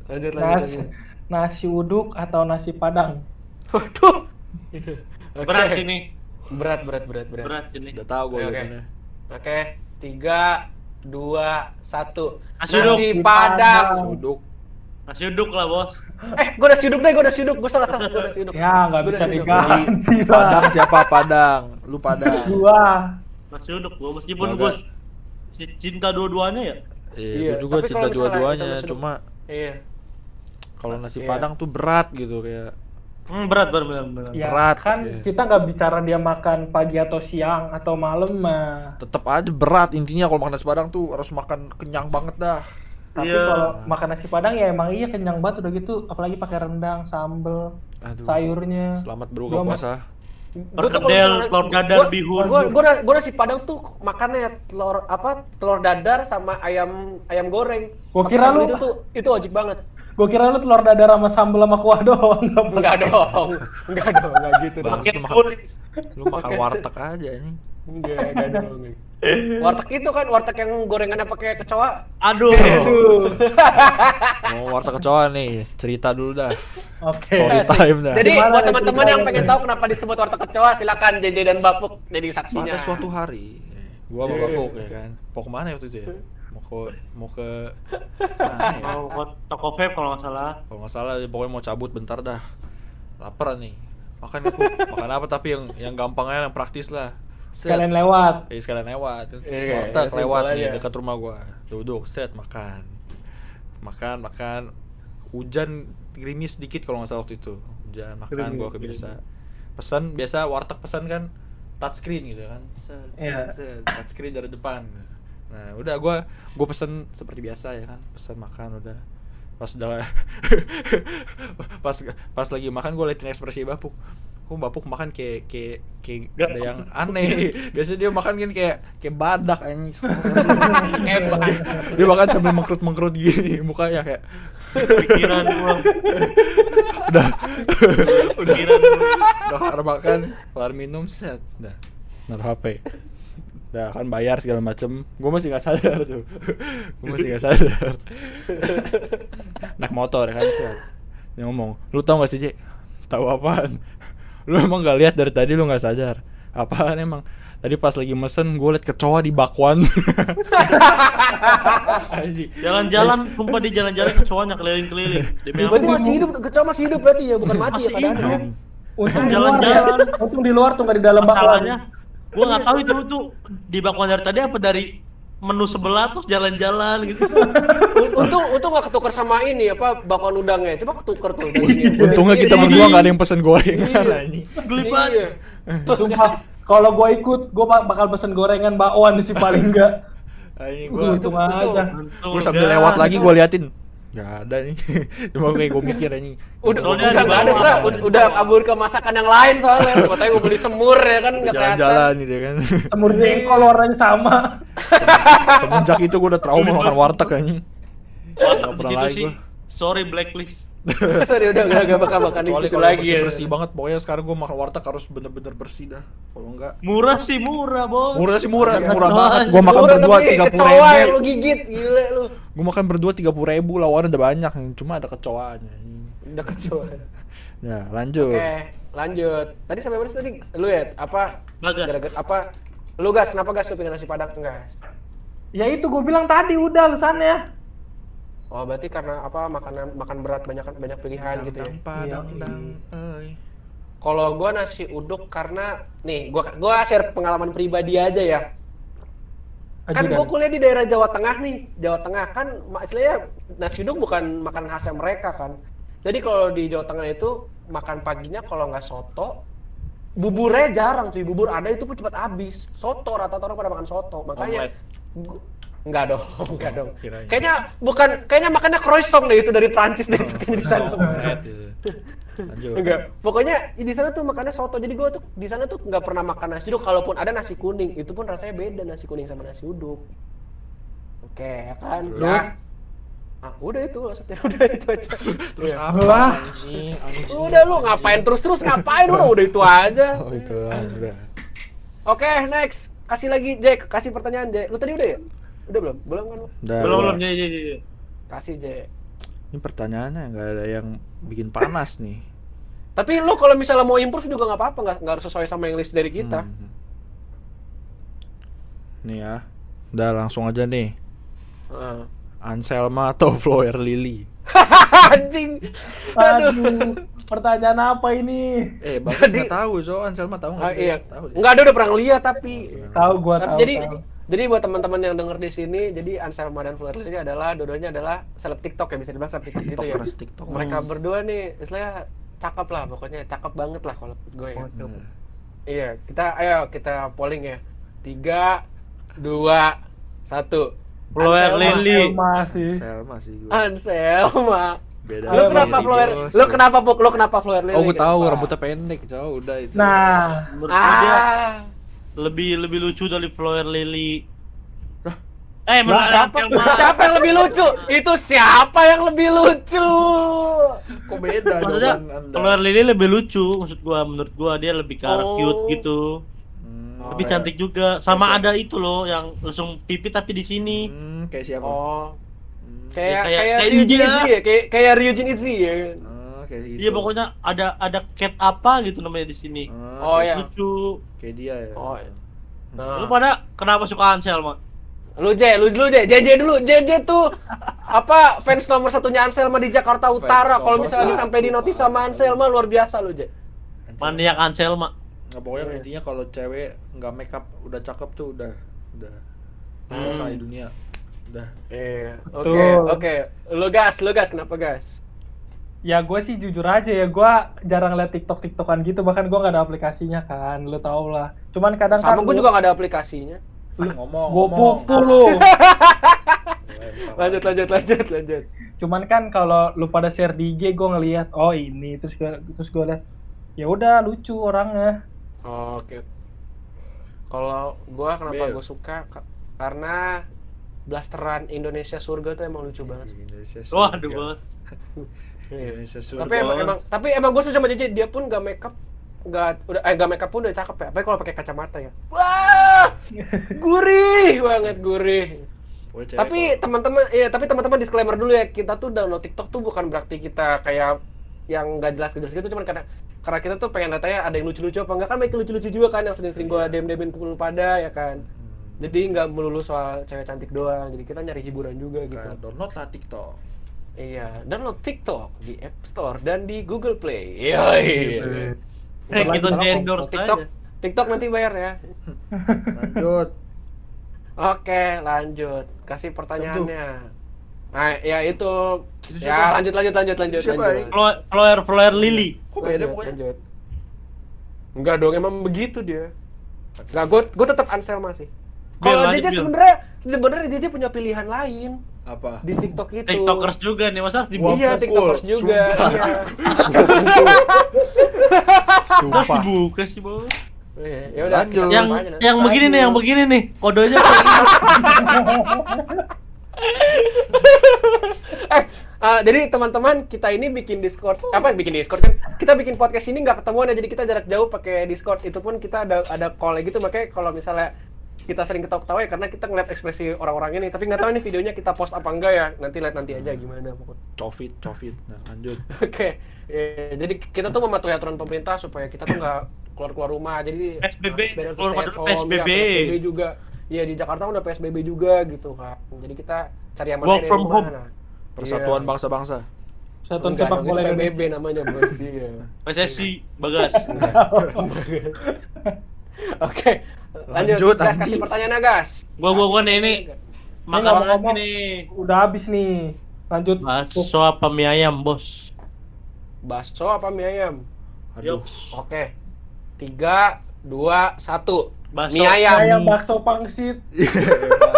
A: lanjut lanjut
D: nasi
A: lanjut
D: nasi uduk atau nasi padang
A: waduh Oke.
C: berat sini
A: berat berat berat berat oke
C: berat sini
B: udah tahu gue
A: Oke, oke.
B: jawabannya
A: tiga dua satu
C: Nasi
A: nasi
D: uduk.
A: padang
B: suduk
C: masih duduk lah bos
A: Eh, gue udah siuduk deh, gue udah siuduk, gue salah salah, gue udah siuduk.
D: ya nggak
A: Gua
D: bisa
A: udah siuduk.
D: diganti
B: padang
D: lah
B: siapa padang lu padang
D: gua
C: masih duduk gue meskipun
B: Bagas.
C: gue cinta dua-duanya ya
B: iya,
A: Iya,
B: gue juga
A: tapi
B: cinta
A: kalau misalnya kita
B: dua-duanya
A: masuk-
B: cuma
A: Iya.
B: kalau nasi
A: Iya.
B: padang tuh berat gitu kayak
C: hmm, berat berat berat, berat.
D: ya
B: Berat,
D: kan
B: ya.
D: kita nggak bicara dia makan pagi atau siang atau malam mah
B: tetap aja berat intinya kalau makan nasi padang tuh harus makan kenyang banget dah
D: tapi
C: Iya.
D: kalau makan nasi padang ya emang iya kenyang banget udah gitu apalagi pakai rendang sambel
B: Aduh.
D: sayurnya
B: selamat berbuka
D: Gua-
B: puasa
A: Gua tuh kalau
C: Perkedel,
A: misalnya-
C: telur dadar,
A: gua-
C: bihun.
A: Gua gua na- gua nasi Padang tuh makannya telur apa? Telur dadar sama ayam ayam goreng.
D: Gua
A: Pakai
D: kira
A: sambal
D: lu-
A: itu tuh itu wajib banget.
D: Gue kira lu telur dadar sama sambel sama kuah doang. Nggak pernah.
A: Enggak dong. Enggak dong, enggak gitu dong.
B: Bang.
C: Makin
B: makan-
C: kulit
B: lu makan warteg aja nih
A: Enggak, enggak dong. Warteg itu kan warteg yang gorengannya pakai kecoa.
C: aduh
B: mau warteg kecoa nih cerita dulu dah
D: Oke.
B: story time dah
A: Iya, Jadi
D: Nah, Gimana
A: buat
D: tuh
A: teman-teman
D: ceritanya?
A: yang pengen tahu kenapa disebut warteg kecoa, silakan JJ dan Bapuk jadi saksinya.
B: pada suatu hari eh, gua sama
A: Iya.
B: Bapok ya kan mau kemana waktu itu ya mau ke mau ke mana ya?
C: mau buat toko vape kalau nggak salah
B: kalau nggak salah pokoknya mau cabut bentar dah lapar nih makan aku makan apa tapi yang yang gampang aja yang praktis lah Set.
D: Kalian lewat.
B: Ya sekalian lewat.
A: Iya,
B: Warteg
A: iya,
B: lewat
A: simpel
B: nih
A: aja.
B: dekat rumah gua. Duduk set makan. Makan, makan. Hujan gerimis sedikit kalau nggak salah waktu itu. Hujan makan
C: Gerimis,
B: gua kebiasa. Pesan biasa warteg pesan kan touchscreen gitu kan. Set, set,
D: Iya.
B: set, touchscreen dari depan. Nah, udah gua gua pesan seperti biasa ya kan. Pesan makan udah pas udah pas pas lagi makan gue liatin ekspresi bapuk kok bapuk makan kayak kayak kayak
C: Gak.
B: ada yang aneh biasanya dia makan kan kayak kayak badak anjing
A: Eh, bukan.
B: dia makan sambil mengkerut mengkerut gini mukanya kayak
C: pikiran gua
B: udah udah
C: pikiran gua
B: udah kelar makan kelar minum set dah naruh hp dah kan bayar segala macem gue masih nggak sadar tuh gue masih nggak sadar naik motor kan set dia ngomong lu tau gak sih J tahu apaan lu emang gak lihat dari tadi lu nggak sadar apaan emang tadi pas lagi mesen gue liat kecoa di bakwan Anjing.
C: jalan-jalan sumpah di jalan-jalan kecoanya keliling-keliling demi apa
A: Berarti masih hidup, kecoa masih hidup berarti ya, bukan mati
C: masih
A: ya kadang.
C: hidup
D: Untung di luar ya.
C: Jalan-jalan.
D: Untung di luar tuh nggak di dalam bakwan.
C: masalahnya Gua nggak tahu itu tuh di bakwan dari tadi apa dari menu sebelah terus jalan-jalan gitu.
A: untung untung nggak ketukar sama ini apa bakwan udangnya coba ketukar tuh dari sini.
B: Untungnya kita
C: Iya.
B: berdua nggak ada yang pesen gorengan anjing.
C: Geli
A: Iya.
C: banget.
D: Sumpah, kalau gue ikut, gue bakal pesen gorengan bakwan sih paling enggak.
B: Anjing gua
D: Untung
A: betul.
D: aja.
C: Untung
B: gua sambil
C: enggak.
B: lewat lagi gua liatin. Nggak ada nih. Cuma kayak gua mikir anjing.
A: udah
C: Soalnya
A: udah
C: di
A: nggak ada
C: bawah.
A: Sra. udah, udah kabur ke masakan yang lain soalnya siapa tahu gue beli semur ya kan nggak kelihatan
B: Jalan-jalan gitu kan.
D: Semur jengkol warnanya sama.
B: Semenjak itu gua udah trauma makan warteg anjing.
C: Warteg
B: Nggak
C: di
B: pernah
C: situ
B: lagi
C: sih.
B: gua.
C: Sorry blacklist.
A: sorry udah nggak nggak bakal makan di
B: Kecuali
A: situ
B: kalau
A: lagi
B: bersih
A: ya.
B: bersih banget, pokoknya sekarang gua makan warteg harus bener-bener bersih dah. Kalau enggak
C: Murah sih murah, Bos.
B: murah sih murah,
C: Iya.
B: murah banget. Gua makan
A: Murah
B: berdua
A: tapi
B: tiga puluh
A: kecoa yang
B: ribu.
A: lu gigit gile lu
B: Gua makan berdua tiga puluh ribu lawannya udah banyak, cuma ada kecoanya. anjing.
A: udah kecoa
B: Ya lanjut.
A: oke lanjut tadi sampai mana sih tadi lu ya apa
C: Bagas.
A: gara-gara- apa lu gas kenapa gas lu pengen nasi padang enggak
D: ya itu gue bilang tadi udah ya. alasannya.
A: Oh berarti karena apa makanan makan berat banyak banyak pilihan gitu ya.
B: padang dang, oi.
A: Kalau gua nasi uduk karena nih gua gua share pengalaman pribadi aja ya. Kan
D: Ajudan.
A: gua kuliah di daerah Jawa Tengah nih. Jawa Tengah kan maksudnya nasi uduk bukan makanan khasnya mereka kan. Jadi kalau di Jawa Tengah itu makan paginya kalau nggak soto buburnya jarang cuy bubur ada itu pun cepat habis soto rata-rata orang pada makan soto makanya
B: Omelet. Oh,
A: gua- nggak dong nggak dong
B: kirain.
A: kayaknya bukan kayaknya makannya croissant deh itu dari Prancis deh itu kayaknya di sana
B: Omelet gitu. Lanjut.
A: enggak Iya. pokoknya di sana tuh makannya soto jadi gue tuh di sana tuh nggak pernah makan nasi uduk kalaupun ada nasi kuning itu pun rasanya beda nasi kuning sama nasi uduk oke ya kan
B: Terus?
A: nah, ah, udah itu maksudnya udah itu aja
B: Terus
A: Iya.
B: apa?
D: Lah.
B: Anjing, anjing.
A: udah lu ngapain terus terus ngapain udah udah itu aja
B: Oh itu
A: Hmm.
B: lah, udah.
A: oke next kasih lagi Jack kasih pertanyaan Jack lu tadi udah ya udah belum belum kan lu?
B: Udah,
C: Belum
B: udah.
C: belum Iya, jadi jadi. jadi.
A: kasih Jack
B: Ini pertanyaannya nggak ada yang bikin panas nih.
A: tapi lu kalau misalnya mau improve juga nggak apa-apa nggak nggak harus sesuai sama yang list dari kita
B: Hmm. Nih ya, udah langsung aja nih.
A: Ah.
B: Anselma atau Flower Lily?
A: Ah, anjing
D: Aduh, pertanyaan apa ini?
B: Eh, bagus nggak tahu, so Anselma tahu nggak?
A: Ah,
B: sih?
A: iya.
B: Tahu dia.
A: Enggak ada udah pernah lihat tapi.
D: Tahu gue
A: Tapi
D: tahu.
A: jadi
D: tahu.
A: jadi buat teman-teman yang denger di sini, jadi Anselma dan Fleur ini adalah dua-duanya adalah seleb TikTok ya bisa dibilang seleb TikTok, gitu ya.
B: Tiktokers, tiktokers.
A: Mereka
C: Hmm.
A: berdua nih istilahnya cakep lah pokoknya, cakep banget lah kalau menurut gue ya.
B: Nah,
A: Iya, kita ayo kita polling ya. Tiga, dua, satu.
C: Flower Lily.
D: Elma sih.
B: Anselma sih gue.
A: Anselma.
B: Beda.
A: Lu
D: Elma
A: kenapa
B: Lily,
A: Fleur?
B: bos.
A: Lu kenapa Puk? Lu kenapa Fleur Lily? kan?
B: Oh, gue tahu
A: Kenapa?
B: rambutnya pendek, so udah itu.
D: Nah,
C: Menurut dia
A: Ah.
C: lebih lebih lucu dari Flower Lily.
B: Lah?
C: Eh, menurut Iya.
D: Lah,
C: Anselma.
A: Siapa yang lebih lucu? Itu siapa yang lebih lucu?
B: kok beda
C: Maksudnya
B: jawaban Anda?
C: Flower Lily lebih lucu maksud gua menurut gua dia lebih ke arah
A: Oh.
C: cute gitu.
B: Hmm,
C: Lebih
B: kayak-
C: cantik juga. Sama ada itu loh yang langsung pipi tapi di sini.
B: Hmm, kayak siapa?
A: Oh,
B: Hmm,
A: kayak
C: Ya, kayak-
A: kayak
C: kayak
A: Ryujin
C: dia.
A: Itzy ya, kayak kayak Ryujin Itzy ya.
B: ah, kayak gitu.
C: Iya pokoknya ada ada cat apa gitu namanya di sini.
B: Ah,
A: Oh
B: kayak-
A: ya.
C: Lucu.
B: Kayak dia ya.
A: Oh, iya.
B: Hmm.
C: Lu
A: Nah.
C: pada kenapa suka Anselma?
A: Lu J, lu dulu J, JJ dulu. JJ tuh apa fans nomor satunya Anselma di Jakarta Utara. Kalau
B: nomor
A: misalnya
B: satu,
A: sampai di notis sama
B: Pak.
A: Anselma luar biasa lu J.
B: Anjing.
A: ya.
C: Maniak Anselma.
B: Nah, pokoknya intinya kalau cewek nggak make up udah cakep tuh udah udah
A: Hmm.
B: selesai dunia. Udah.
A: Iya. Oke,
D: Betul.
A: oke. Lu gas, lu gas kenapa gas?
D: Ya gue sih jujur aja ya, gue jarang liat TikTok-TikTokan gitu, bahkan gue nggak ada aplikasinya kan, lu tau lah. Cuman kadang
A: Sama
D: kan
A: gue
D: lu-
A: juga gak ada aplikasinya.
B: Ah, ngomong.
D: Gue
B: ngomong.
D: pukul lu.
B: Lempar.
A: Lanjut, lanjut, lanjut, lanjut.
D: Cuman kan kalau lu pada share di IG gue ngelihat, oh ini, terus gue terus gue liat, ya udah lucu orangnya.
A: Oh, Oke. Kalau gua kenapa
B: Bel.
A: gua suka Ka- karena blasteran Indonesia surga tuh emang lucu banget.
B: Indonesia surga.
C: Waduh, Bos.
A: Iya.
B: Indonesia surga.
A: Tapi emang, emang- tapi emang gua suka sama JJ dia pun gak make up nggak udah eh gak make up pun udah cakep ya. Apalagi kalau pakai kacamata ya. Wah! gurih banget gurih.
B: Pokoknya cewek
A: Tapi teman-teman ya tapi teman-teman disclaimer dulu ya kita tuh download TikTok tuh bukan berarti kita kayak yang gak jelas jelas gitu cuman karena karena kita tuh pengen tanya ada yang lucu-lucu apa enggak kan banyak yang lucu-lucu juga kan yang sering-sering gua dem-demin ke Pulau pada ya kan. Jadi nggak melulu soal cewek cantik doang. Jadi kita nyari hiburan juga
B: kalau-
A: gitu.
B: Nah, download lah TikTok.
A: Iya, download TikTok di App Store dan di Google Play. Iya. gitu, iya.
D: Eh,
C: Eh, kita
A: Apalagi
C: di endorse
A: TikTok,
C: aja.
A: TikTok nanti bayar ya.
E: Lanjut.
A: Oke, lanjut. Kasih pertanyaannya. Nah, ya itu.
E: Itu
A: Ya,
E: siapa?
A: lanjut, lanjut, lanjut, lanjut.
E: Siapa,
A: lanjut.
E: Aing?
C: Flower, flower, flower lily.
E: Kok beda
A: Lanjut,
E: pokoknya?
A: lanjut. Enggak dong, emang begitu dia. Enggak, gue gue tetap Anselma sih.
C: Bill,
A: Kalau
C: lanjut,
A: JJ
C: Bill.
A: sebenarnya sebenarnya JJ punya pilihan lain
E: Apa?
A: di TikTok itu.
C: Tiktokers juga nih, masa
E: Wah,
C: harus dibully?
A: Iya,
E: pukul.
A: TikTokers juga.
E: Sumpah.
A: Iya.
C: Harus
B: Sumpah.
C: dibuka sih, bos.
A: Iya, Ya udah.
E: Lanjut.
A: kita
C: Yang
A: apa aja nanti.
C: yang begini nih, yang
A: Lanjut.
C: begini nih. Kodenya kayak gini.
A: Eh, eh, jadi teman-teman kita ini bikin Discord apa bikin Discord kan? Kita bikin podcast ini nggak ketemuan ya, jadi kita jarak jauh pakai Discord. Itu pun kita ada ada call gitu makanya kalau misalnya kita sering ketawa-ketawa ya karena kita ngeliat ekspresi orang-orang ini. Tapi nggak tahu nih videonya kita post apa enggak ya. Nanti lihat nanti aja gimana pokoknya.
B: Covid, Covid. Nah, lanjut.
A: Oke. Ya, jadi kita tuh mematuhi aturan pemerintah supaya kita tuh nggak keluar-keluar rumah. Jadi
C: PSBB,
A: eh, harus
C: keluar rumah
A: stay at
C: dulu,
A: home. Ya,
C: PSBB.
A: PSBB juga. Iya di Jakarta udah PSBB juga gitu kan. Jadi kita cari aman
C: Work
A: dari
C: from
A: rumah,
C: home.
A: nah.
B: Persatuan
A: Iya.
B: bangsa-bangsa.
D: Satu
A: Enggak
D: sepak
A: dong,
D: bola
A: itu
D: Indonesia.
A: PBB namanya bos iya.
C: PSSI, Bagas.
A: Oke, lanjut.
E: Lanjut,
A: gas,
E: anjing.
A: kasih pertanyaan gas.
C: Gua- gua- gua nih, ini. Maka
D: Ini
C: banget
D: ngomong-ngomong.
C: nih.
D: Udah habis nih. Lanjut. Oh,
C: Bakso apa mie ayam, bos?
A: Bakso apa mie ayam?
B: Aduh.
C: Yops.
A: Oke. Tiga, dua, satu.
C: Bakso.
A: Mie ayam.
D: Kayak bakso pangsit.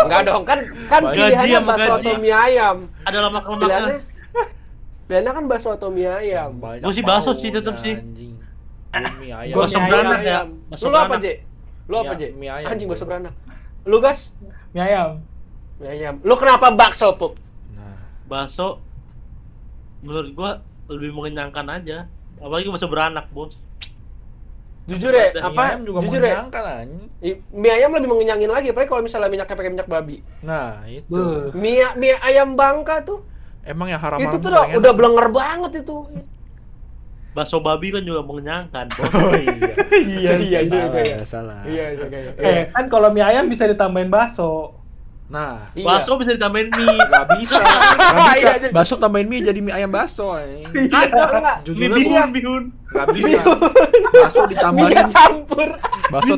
A: Enggak dong, kan kan
B: Gaji
A: pilihannya
C: sama
A: bakso
C: gaji.
A: atau mie ayam.
C: Ada lama
A: Pilihannya
C: kelamaan.
A: Pilihannya kan bakso atau mie ayam.
B: Banyak
C: Gua sih bakso
B: bau,
C: sih, tetep
B: dah,
C: sih.
B: Anjing. Gua mie ayam.
C: Bakso
D: Mie
C: beranak
A: Mie
C: ya.
A: ayam.
C: Bakso
A: Lu apa,
C: beranak.
A: J? Lu apa,
B: Mie-
A: J?
B: mie ayam,
A: Anjing bakso
B: gua.
A: beranak. Lu gas?
D: Mie ayam.
A: Mie ayam. Lu kenapa bakso, Pup?
B: Nah,
C: Bakso menurut gua lebih mengenyangkan aja. Apalagi bakso beranak, bos.
A: Jujur ya,
C: Mie
B: mie
A: apa?
B: ayam juga
A: Jujur ya,
B: mengenyangkan anjing.
A: I- mie ayam lebih mengenyangin lagi apalagi kalau misalnya minyaknya pakai minyak babi
B: Nah, itu.
D: Beuh.
A: mie mie ayam bangka tuh
B: Emang yang haram
A: itu
B: haram
A: tuh udah,
B: paling
A: udah
B: enak.
A: blenger banget itu
C: Bakso babi kan juga mengenyangkan, bos.
B: Oh iya.
A: iya iya
B: salah,
A: juga ya.
B: salah.
A: iya juga ya.
D: Eh, kan kalau mie ayam bisa ditambahin bakso.
B: Nah,
A: Iya.
C: Bakso bisa ditambahin mie.
B: nggak bisa. Nggak
A: Iya,
B: bisa.
A: jadi-
B: Bakso tambahin mie jadi mie ayam bakso. anjing.
A: Enggak, enggak.
C: Mie
B: Judulnya
C: bihun, bihun.
B: nggak bisa. Bakso
A: ya? mie
B: ditambahin,
A: campur
B: bakso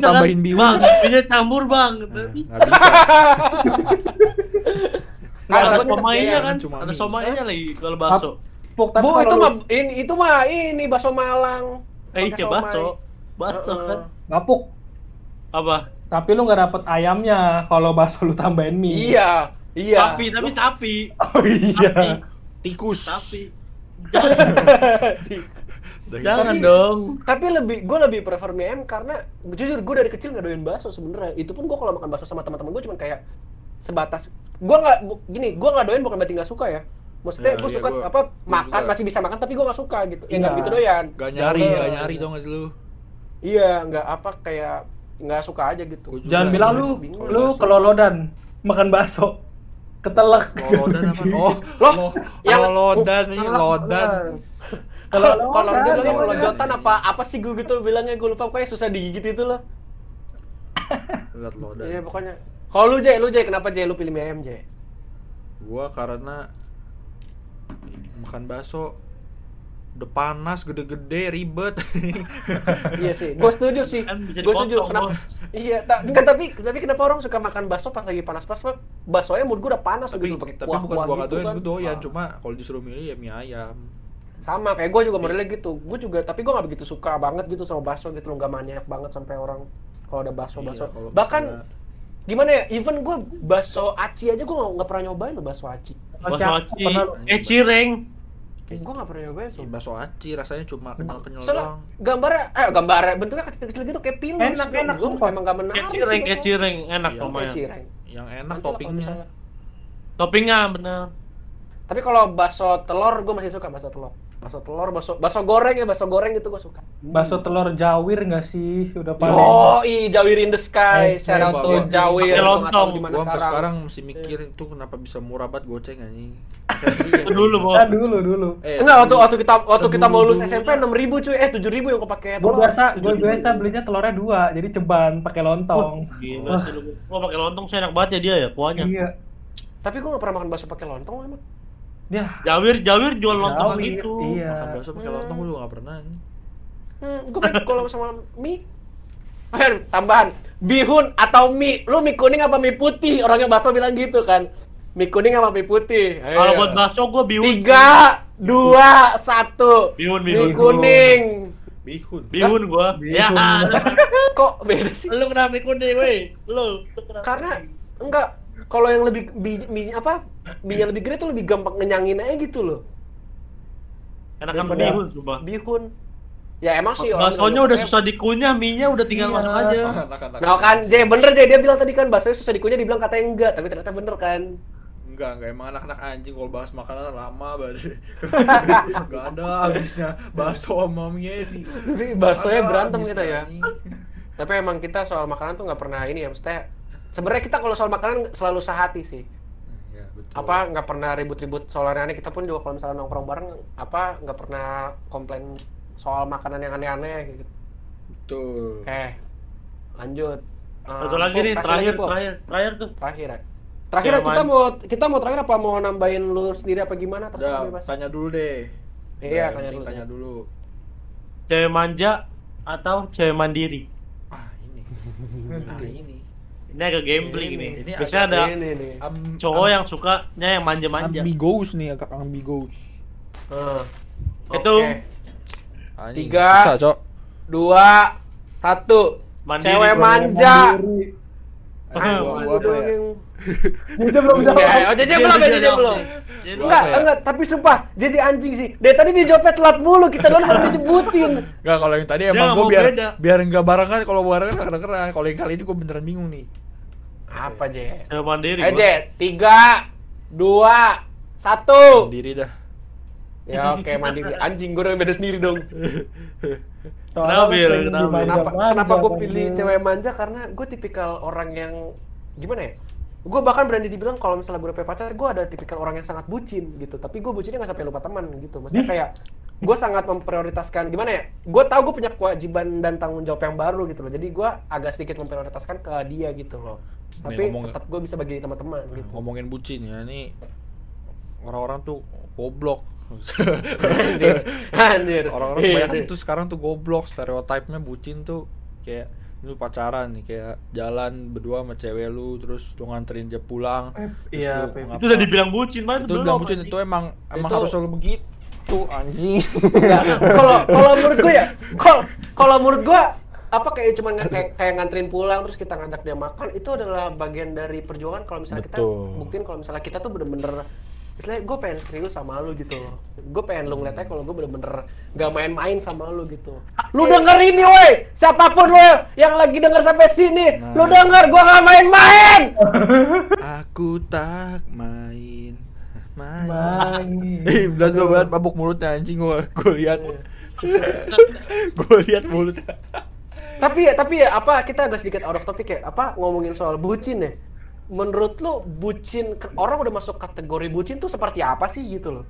C: Bisa kan?
B: tambahin
C: Bang,
B: bihun.
C: mie campur, Bang.
B: Nah, Nggak bisa.
C: Nah,
A: gua
C: ada
A: tetap
C: somainya
A: mie
C: kan,
A: ayam.
B: cuma
C: ada
B: mie.
C: somainya lagi kalau bakso.
D: Puk, tapi
A: bu
D: kalau
A: itu
D: lu-
A: mah ini itu mah ini bakso malang Pakai
C: Eh, iya
A: somai.
C: bakso. Bakso
A: Heeh.
C: kan.
D: Nggak, Puk.
C: Apa?
D: Tapi lu nggak dapet ayamnya kalau bakso lu tambahin mie.
A: iya iya
C: Sapi, tapi sapi.
D: Oh
C: Sapi,
D: iya.
B: Tikus.
C: sapi. Jangan, jangan dong.
A: tapi lebih gue lebih prefer mie ayam karena jujur gue dari kecil nggak doyan bakso sebenarnya itu pun gue kalau makan bakso sama teman-teman gue cuman kayak sebatas gue nggak bu- gini gue nggak doyan bukan berarti nggak suka ya maksudnya
B: Ya,
A: gue
B: iya,
A: suka
B: gua-
A: apa
B: gua
A: makan
B: suka.
A: masih bisa makan tapi gue nggak suka gitu ya nggak
D: Iya.
A: gitu doyan
B: Gak nyari,
A: Jangan.
B: gak nyari dong gak sih lu.
A: iya nggak apa kayak nggak suka aja gitu
B: Gua juga
D: Jangan
B: anjing.
D: bilang lu
A: Bingung
D: lu
B: bakso.
D: kelolodan makan bakso. Ketelek.
B: Lolodan apa? Oh,
A: Loh,
B: lo,
A: yang-
B: lolodan ini lodan.
A: Ya, kalau
D: Kalau
A: kalau
D: kan,
A: dia bilangnya
B: kalau
A: kalau
B: kan.
A: jotan apa apa sih gue gitu bilangnya gue lupa kayak susah digigit itu loh
B: Lihat lodan.
A: iya pokoknya kalau lu Jay, lu Jay kenapa Jay lu pilih mie ayam Jay?
B: Gua karena makan bakso udah panas gede-gede ribet.
A: iya sih, gue setuju sih.
C: Kan bisa
A: Gue setuju.
C: dipotong,
A: Kenapa?
C: Bos.
A: Iya, ta- enggak, tapi tapi kenapa orang suka makan bakso pas lagi panas-panas? Pak? Baksonya menurut gue udah panas
B: tapi
A: gitu pakai
B: tapi
A: kuah
B: bukan gua
A: kuah
B: gak
A: gitu
B: doyan,
A: kan.
B: gua doyan
A: Ah.
B: cuma kalau disuruh milih ya mie ayam.
A: Sama kayak gue
B: Iya.
A: juga modelnya gitu. Gue juga tapi gue nggak begitu suka banget gitu sama bakso gitu loh, nggak maniak banget sampai orang kalau ada bakso bakso.
B: Iya, kalau
A: Bahkan
B: misalnya-
A: gimana ya, even gue bakso aci aja gue nggak nggak pernah nyobain loh bakso aci.
C: Bakso
D: Siapa
C: aci.
D: pernah lu?
C: Eh, cireng.
A: Gue nggak pernah nyobain so.
B: Ih, bakso aci rasanya cuma kenyal-kenyal
A: Soalnya
B: doang.
A: gambarnya, eh gambarnya bentuknya kecil-kecil gitu kayak pilus.
D: Enak, enak,
A: Gua
D: sumpah.
A: Emang nggak menarik.
C: Kayak cireng,
A: sih gitu.
C: kayak
A: bakso.
C: cireng. Enak
B: Iya.
A: Kayak
C: lumayan.
A: cireng.
B: Yang enak
A: Nanti lah kalau
B: toppingnya.
A: misalnya-
C: Toppingnya ah, bener.
A: Tapi kalau bakso telur gue masih suka bakso telur. Bakso telur, bakso bakso goreng ya, bakso goreng itu gue suka.
D: Bakso telur jawir nggak sih? Udah paling.
A: Oh, i Jawir in the sky,
D: Eh,
A: shout out
B: coba,
A: to
B: gua-
A: Jawir. Gua
C: pakai
A: nggak tahu
C: lontong.
A: Gimana
B: Gua sampai
A: sekarang?
B: sekarang mesti
A: Iya.
B: mikir itu kenapa bisa murah banget goceng anjing.
C: Itu dulu, bos.
D: Ah, dulu dulu.
B: Eh,
A: Enggak, waktu waktu kita waktu kita mau lulus
B: sebelum-
A: SMP 6000 cuy, eh 7000 yang kepake.
D: Gue biasa, gue biasa belinya telurnya dua, jadi ceban pakai lontong.
C: Gila sih lu. Gua pakai lontong sih enak banget ya dia ya kuahnya.
D: Iya.
A: Tapi gue gak pernah makan bakso pakai lontong emang.
D: Ya.
C: Jawir, jawir jual lontong
D: jawir,
C: gitu.
D: Iya.
B: Makan bakso pakai lontong gua juga gak pernah. anjing.
A: Hmm, gue pakai kalau sama mie Eh, tambahan bihun atau mie lu mie kuning apa mie putih orangnya baso bilang gitu kan mie kuning apa mie putih Ayo.
C: Kalau buat bakso gue bihun.
A: Iya. tiga dua satu
C: Bihun,
A: mie
C: bihun.
A: kuning
B: Bihun.
C: Bihun gue. Ya. ah,
A: kok beda sih
C: Lu kenapa mie kuning, weh? Lu. lu kenapa?
A: karena enggak kalau yang lebih bi, mi- apa minyak lebih gede tuh lebih gampang ngenyangin aja gitu loh
C: Karena kan
A: Daripada-
C: bihun, sumpah.
A: bihun ya emang sih orang
C: Baksonya udah susah dikunyah, mie-nya udah tinggal
D: Iya.
C: masuk aja.
A: Nah kan, J, bener J, dia bilang tadi kan baksonya susah dikunyah, dibilang katanya enggak, tapi ternyata bener kan.
B: Enggak, enggak emang anak-anak anjing kalau bahas makanan lama banget.
E: Gak ada habisnya bakso sama mie di.
A: Jadi baksonya
E: Ada
A: berantem
E: habisnya,
A: kita ya.
E: anjing.
A: Tapi emang kita soal makanan tuh nggak pernah ini ya, maksudnya sebenarnya kita kalau soal makanan selalu sehati sih.
E: Ya,
B: Iya,
E: betul.
A: Apa nggak pernah ribut-ribut soal aneh-aneh, kita pun juga kalau misalnya nongkrong bareng apa nggak pernah komplain soal makanan yang aneh-aneh gitu.
E: Betul.
A: Oke. Eh, Lanjut. Eh,
C: Satu lagi
A: Pok,
C: nih,
A: kasih
C: terakhir,
A: lagi, Pok.
C: terakhir, terakhir tuh.
A: Terakhir ya. Terakhir
C: Yang
A: kita
C: main-
A: mau kita mau terakhir apa mau nambahin lu sendiri apa gimana terserah
E: Udah,
A: bebas.
E: tanya dulu deh.
A: Iya,
E: Udah, yang
A: tanya
E: penting
A: dulu.
E: Tanya dulu.
C: Cewek manja atau cewek mandiri?
E: Ah, ini. Nah, ini.
C: Ini agak gambling
A: Ini,
C: ini.
E: ini
C: Biasanya ada Eh,
A: Ini nih.
E: Am-
C: cowok
E: am-
C: yang sukanya yang manja-manja.
B: Ambiguous nih, agak ambiguous.
A: Eh,
C: Itu.
A: oke.
B: Anjing,
A: Tiga.
B: Susah, Cok.
A: dua satu
C: Mandiri.
A: cewek manja
D: ya?
B: Eh,
E: Aduh, gua, gua apa ya?
D: Dia belum
A: Ya,
D: jawab.
A: oh JJ
C: Iya,
A: belum ya JJ belum
C: Jadi
A: enggak
B: Apa ya?
A: enggak tapi sumpah JJ anjing sih dari tadi dia jawabnya telat mulu kita dulu baru dijebutin
B: Enggak, kalau yang tadi
C: Dia
B: emang
C: nggak
B: gue
C: mau
B: biar
C: beda.
B: biar enggak barengan kalau barengan keren keren. Kalau yang kali ini gue beneran bingung nih.
A: apa J
C: cewek mandiri.
A: ayo
C: gua.
A: J Eh, tiga dua satu
B: Sendiri dah.
A: ya oke mandiri anjing gue udah beda sendiri dong
D: Soalnya
C: Kenapa, Bil?
D: pengen
C: Kenapa?
D: dimanja-manja,
A: kenapa kenapa gue
D: Bang
A: pilih
D: Bil.
A: cewek manja karena gue tipikal orang yang gimana ya gue bahkan berani dibilang kalau misalnya gue udah punya pacar gue ada tipikal orang yang sangat bucin gitu tapi gue bucinnya nggak sampai lupa teman gitu maksudnya kayak gue sangat memprioritaskan gimana ya gue tahu gue punya kewajiban dan tanggung jawab yang baru gitu loh jadi gue agak sedikit memprioritaskan ke dia gitu loh tapi
B: ngomong-
A: tetap gue bisa bagi teman-teman gitu
B: Ngomongin bucin ya nih orang-orang tuh goblok.
A: anjir anjir
B: orang-orang
A: Iya,
B: kebanyakan
A: iya.
B: tuh sekarang tuh goblok stereotipnya bucin tuh kayak lu pacaran nih kayak jalan berdua sama cewek lu terus lu nganterin dia pulang terus
D: iya,
B: lu
D: Pep.
B: ngapa-
C: Itu udah dibilang bucin, mana
B: itu bilang bucin itu emang emang
A: Itu-
B: harus selalu begitu anjing
A: Nah, kalau kalau menurut gue ya kalau kalau menurut gue apa kayak cuman nge- kayak, kayak nganterin pulang terus kita ngajak dia makan itu adalah bagian dari perjuangan kalau misalnya
B: Betul.
A: kita buktiin kalau misalnya kita tuh bener-bener istilahnya gue pengen serius sama lu gitu loh gue pengen lu ngeliatnya kalau gue bener-bener gak main-main sama lu gitu lu denger ini woi siapapun lu yang lagi denger sampai sini lu
B: Nah.
A: denger gue gak main-main
B: aku tak main main
D: Main.
B: Ih, belas lu banget mabuk mulutnya anjing gua gua lihat gua lihat mulutnya
A: tapi ya tapi ya apa kita agak sedikit out of topic ya apa ngomongin soal bucin ya menurut lu bucin ke- orang udah masuk kategori bucin tuh seperti apa sih gitu loh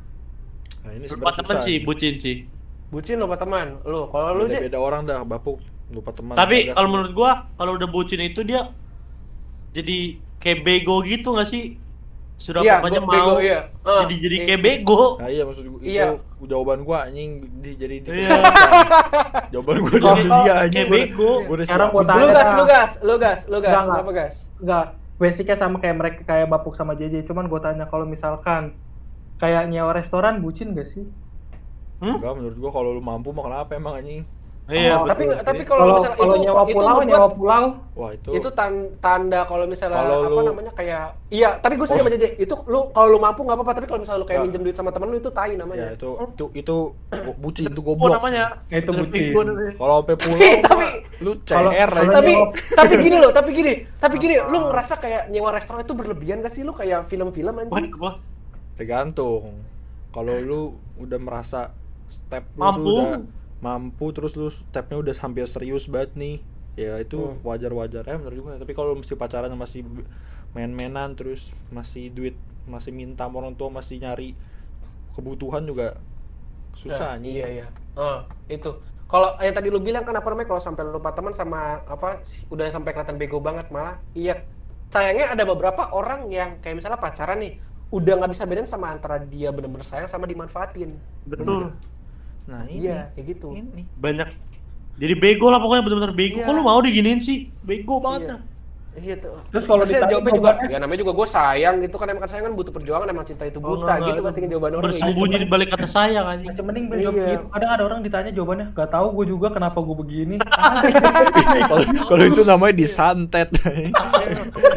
B: nah, ini
C: Lupa temen sih, bucin sih.
A: bucin lo Pak teman lo kalau lu
B: beda,
A: Ji,
B: beda orang dah bapuk lupa teman
C: Tapi
B: Ada
C: kalau
B: sih.
C: menurut gua, kalau udah bucin itu dia jadi kayak bego gitu nggak sih? Sudah
A: Iya,
C: pokoknya
A: gua- bego,
C: mau.
A: iya. Ah,
C: jadi jadi
A: iya.
C: kayak bego.
B: Nah, iya maksud gua itu
A: Iya.
B: jawaban gua anjing di, jadi di
C: Iya.
B: jawaban gua
C: Kalau-
B: dari dia anjing
C: kayak
B: gua.
C: bego.
B: Gua udah
D: Sekarang
B: siapin.
D: gua tanya.
A: lu gas lu gas lu gas lu gas
D: Enggak, enggak.
A: apa gas
D: Enggak, basicnya sama kayak mereka kayak Bapuk sama JJ. Cuman gue tanya kalau misalkan kayak nyewa restoran bucin gak sih?
B: Enggak menurut gua kalau lu mampu mah kenapa emang anjing?
C: Iya,
D: Oh,
A: tapi
C: betul.
A: tapi kalau
D: Kalau
A: misalnya
D: kalau
A: itu
D: nyewa
A: itu
D: pulau,
A: membuat-
D: nyewa pulau
B: Wah, itu
A: itu tan- tanda kalau misalnya
B: Kalau
A: apa
B: lu- Oh.
A: namanya kayak iya tapi gue setuju sama JJ itu lu kalau lu mampu nggak apa-apa tapi kalau misalnya lu kayak
B: Nggak.
A: minjem duit sama temen lu itu tai namanya
B: ya itu itu itu bu- bucin itu
C: Apa
B: goblok.
C: namanya?
D: Ya, itu
C: Jadi
D: bucin.
C: bego namanya.
B: Kalau sampai pulau
A: Tapi-
B: mah, lu CR
D: kalau- kalau
B: anjing.
A: tapi
D: Nyewa-
A: tapi gini loh tapi gini tapi gini lu ngerasa kayak nyewa restoran itu berlebihan gak sih lu kayak film-film
C: Buat
A: anjing
C: gua.
B: tergantung. Kalau
A: Nah.
B: lu udah merasa step lu
C: Mampu.
B: tuh udah mampu terus lu stepnya udah hampir serius banget nih ya itu
A: Hmm.
B: wajar-wajar ya menurut gua tapi kalau lu mesti pacaran masih b- main-mainan terus masih duit masih minta sama orang tua masih nyari kebutuhan juga susah
A: Nah,
B: anjing.
A: iya iya Ah, itu kalau yang tadi lu bilang kan apa namanya kalau sampai lupa teman sama apa udah sampai kelihatan bego banget malah iya sayangnya ada beberapa orang yang kayak misalnya pacaran nih udah nggak bisa bedain sama antara dia bener-bener sayang sama dimanfaatin
C: Betul.
B: Nah ini
A: iya kayak gitu
B: ini
C: Banyak Jadi bego lah pokoknya bener-bener bego.
A: Iya.
C: Kok lu mau diginiin sih? Bego banget
A: Iya.
C: dah.
A: Iya tuh.
D: Terus kalau
A: Maksudnya
D: ditanya
A: jawabnya juga,
D: jawabannya-
A: ya namanya juga gue sayang gitu kan emang kan sayang kan butuh perjuangan emang cinta itu
C: Oh,
A: buta
C: enggak, enggak.
A: gitu pasti jawaban orang. kayak gitu.
C: Bersembunyi di balik kata saya kan.
D: Masih mending beli jawab
A: Iya.
D: gitu. Kadang ada orang ditanya jawabannya, gak tahu gue juga kenapa gue begini.
B: Eh, kalau kalau itu namanya disantet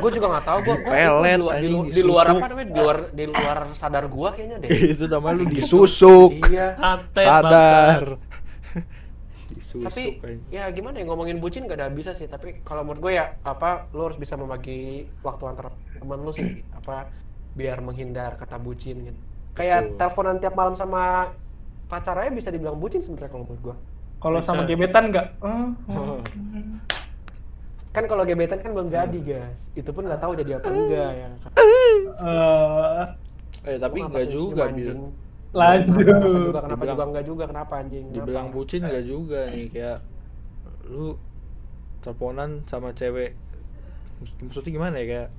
A: gue juga nggak tahu gue di,
B: Dipelet,
A: luar- di, lu-
B: anjing,
A: di luar
B: disusuk.
A: apa namanya di luar di luar sadar gue kayaknya deh.
B: itu namanya lu disusuk
A: Iya.
C: Santai,
B: sadar
A: tapi
B: disusuk anjing.
A: ya gimana ya ngomongin bucin gak ada bisa sih tapi kalau menurut gue ya apa lo harus bisa membagi waktu antar teman lo sih apa biar menghindar kata bucin gitu kayak
B: Betul.
A: teleponan tiap malam sama pacarnya bisa dibilang bucin sebenarnya kalau menurut gue
D: Kalau sama
C: Bisa.
D: gebetan gak? Eh,
A: Hmm. kan kalau gebetan kan
B: Hmm.
A: belum jadi guys itu pun nggak tahu jadi apa enggak ya
D: eh,
B: eh tapi
A: Kenapa
B: enggak
A: sih
B: juga
A: anjing?
B: bil
D: lanjut.
A: kenapa juga kenapa juga
B: Dibilang-
A: enggak juga kenapa anjing Kenapa?
B: dibilang bucin enggak juga nih kayak lu teleponan sama cewek maksudnya gimana ya kayak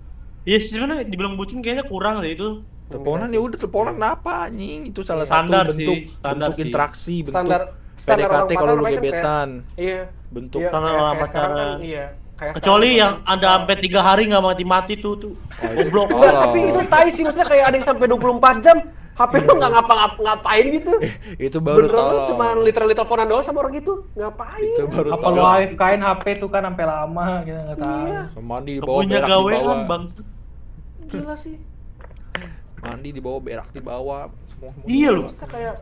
C: Iya sih sebenarnya dibilang bucin kayaknya kurang deh itu.
B: teleponan ya udah teleponan
A: Iya.
B: kenapa anjing itu salah
C: Standar
B: satu
C: sih,
B: bentuk
C: standar
B: bentuk
C: sih.
B: interaksi bentuk
A: standar standar
B: PDKT
A: orang
B: kalau
A: pacaran
B: lu
A: kan kayak-
B: gebetan
A: iya
B: bentuk
A: iya,
C: Standar
A: kayak-
C: orang
A: kayak sekarang
C: pacaran.
A: kan, iya Kayak
C: Kecuali
A: sekarang
C: yang
A: kan-
C: ada sampai tiga hari nggak mati-mati tuh tuh. Goblok.
A: Enggak,
B: Oh, Allah.
A: tapi itu tai sih maksudnya kayak ada yang sampai 24 jam HP lu nggak ngapa-ngapain gitu.
B: itu baru
A: Beneran lu
B: tolong
A: cuma literally teleponan doang sama orang itu. Ngapain?
B: itu baru
D: Apa lu
B: tolong
D: AFK-in HP tuh kan sampai lama kita nggak tahu.
A: Iya,
B: mandi di bawah
C: Punya
B: berak di
C: gawean
B: bawah
C: bang.
A: gila sih.
B: mandi di bawah berak di bawah semua semua
C: Iya lu.
B: di bawah.
A: Maksudnya kayak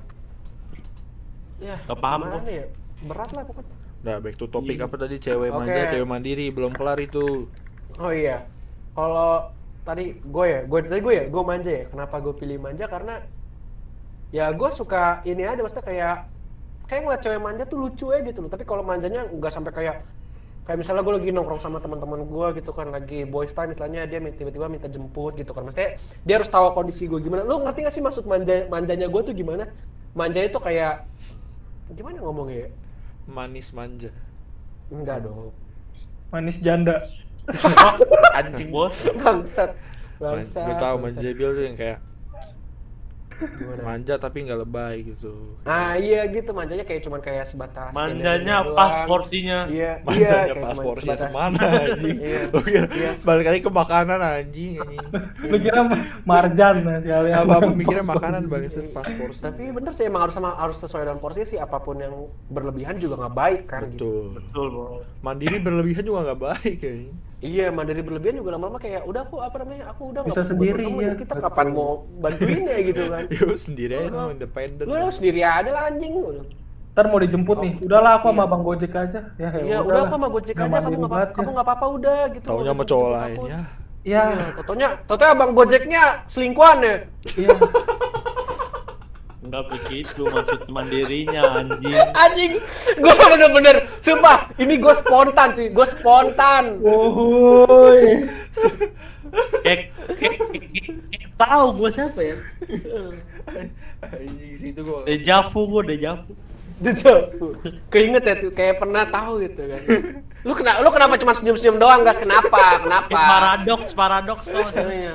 A: ya
C: Nggak paham
A: gimana
C: gua.
A: ya? Berat lah pokoknya.
B: Nah, back to topic
C: Iya.
B: apa tadi cewek
A: Oke.
B: manja, cewek mandiri belum kelar itu.
A: Oh iya. Kalau tadi gue ya, gue tadi gue ya, gue manja ya. Kenapa gue pilih manja? Karena ya gue suka ini aja maksudnya kayak kayak ngeliat cewek manja tuh lucu ya gitu loh. Tapi kalau manjanya nggak sampai kayak kayak misalnya gue lagi nongkrong sama teman-teman gue gitu kan lagi boys time misalnya dia min- tiba-tiba minta jemput gitu kan maksudnya dia harus tahu kondisi gue gimana lu ngerti gak sih maksud manja manjanya gue tuh gimana manjanya tuh kayak gimana ngomongnya ya?
B: Manis manja.
A: enggak dong
D: Manis janda.
C: Anjing bos.
A: bangsat
B: Man,
A: bangsat
B: gue tahu
A: bangsat.
B: manja Bill tuh yang kayak
A: Gimana?
B: manja tapi nggak lebay gitu.
A: Ah iya gitu manjanya kayak cuman kayak sebatas
C: Manjanya
A: skinner
C: pas
A: doang.
C: porsinya.
A: Iya, iya
B: Manjanya
A: kayak cuman
B: paspornya
A: sebatas-
B: semana anjing.
A: Iya.
B: Lu kira
A: Iya.
B: balik lagi ke makanan anjing anjing.
D: Lu kira Marjan ya, sekalian.
B: Apa-apa mikirnya makanan bangset paspor.
A: Iya. Tapi bener sih emang harus sama harus sesuai dengan porsi sih apapun yang berlebihan juga nggak baik kan gitu.
B: Betul.
C: Betul bos.
B: Mandiri berlebihan juga nggak baik anjing.
A: Iya, mandiri berlebihan juga lama-lama kayak udah aku apa namanya? Aku udah nggak
D: Bisa
A: butuh
D: sendiri,
A: kamu,
D: iya.
A: jadi kita kapan mau bantuin ya gitu kan.
B: Yo sendiri aja lu independen.
A: Lu harus sendiri aja lah anjing.
D: Ntar mau dijemput nih. Udahlah aku sama Bang Gojek aja. Ya, ya
A: Iya, udah aku sama Gojek aja kamu nggak apa kamu nggak apa-apa udah gitu.
B: Taunya sama cowok lain ya.
D: Iya.
A: Iya, totonya, totonya abang Gojeknya selingkuhan ya.
D: Iya.
C: Enggak begitu maksud mandirinya anjing.
A: anjing gue bener-bener sumpah ini gue spontan cuy gue spontan
D: Woi.
C: Kayak kayak- kayak- kayak tahu gue siapa ya?
B: Anjing situ gua.
A: Iya.
C: Dejavu gue dejavu.
A: Dijauh. keinget ya tuh kayak pernah tahu gitu kan lu kena lu kenapa cuma senyum-senyum doang gas kenapa
C: Kayak
A: kenapa
C: paradoks paradoks tau gak sih?
A: Iya.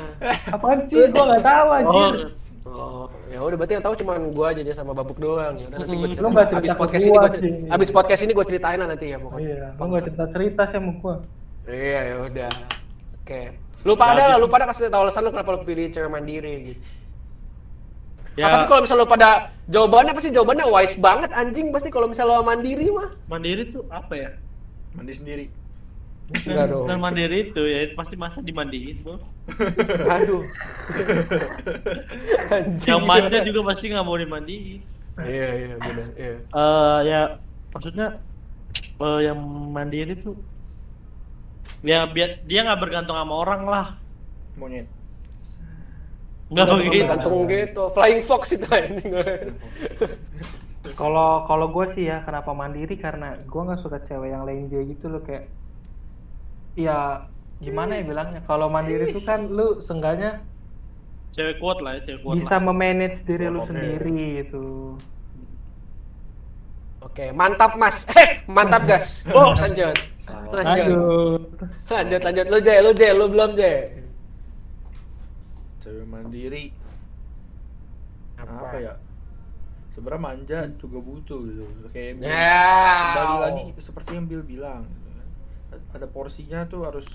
D: Apaan sih? Gua nggak tahu
C: Oh,
D: anjir.
A: Oh, ya udah berarti yang tahu cuma gua aja aja sama babuk doang ya. Udah, Nanti gua
D: Hmm, Lu nggak cerita
A: habis
D: ke
A: podcast
D: gua,
A: ini gua
D: anjing.
A: habis podcast ini gua ceritain lah nanti ya pokoknya.
D: Iya, lu nggak cerita-cerita sih sama gua.
A: Iya, ya udah. Oke. Lu pada lah, lu pada kasih tahu alasan lu kenapa lu pilih cewek mandiri gitu.
C: ya
A: Ah, tapi kalau misalnya lo pada jawabannya pasti jawabannya wise banget anjing pasti kalau misalnya lo mandiri mah.
C: mandiri tuh apa ya?
E: mandi sendiri
A: Enggak dong.
C: Dan mandiri itu ya pasti masa dimandiin bos.
A: Aduh. anjing.
C: Yang manja juga pasti nggak mau dimandiin.
A: Iya iya benar. Iya.
C: eh ya maksudnya eh, yang mandiri tuh ya biar dia nggak bergantung sama orang lah
E: monyet
C: nggak
A: Gantung-
C: begitu
A: Gantung gitu. Flying fox itu anjing.
D: Kalau kalau gue sih ya kenapa mandiri karena gue nggak suka cewek yang lenje gitu loh kayak ya gimana ya bilangnya kalau mandiri tuh kan lu seenggaknya
C: cewek kuat lah ya cewek kuat
D: bisa
C: lah.
D: memanage diri lu
A: Oke.
D: sendiri gitu
A: Oke, mantap Mas. Eh, mantap gas. lanjut. Lanjut.
D: lanjut
A: Lanjut lanjut lu Jay, lu Jay, lu belum Jay. ya?
B: Cewek mandiri apa ya sebenarnya manja juga butuh gitu kayak Bill-
A: Ya.
B: kembali lagi seperti yang Bill bilang gitu kan. A- ada porsinya tuh harus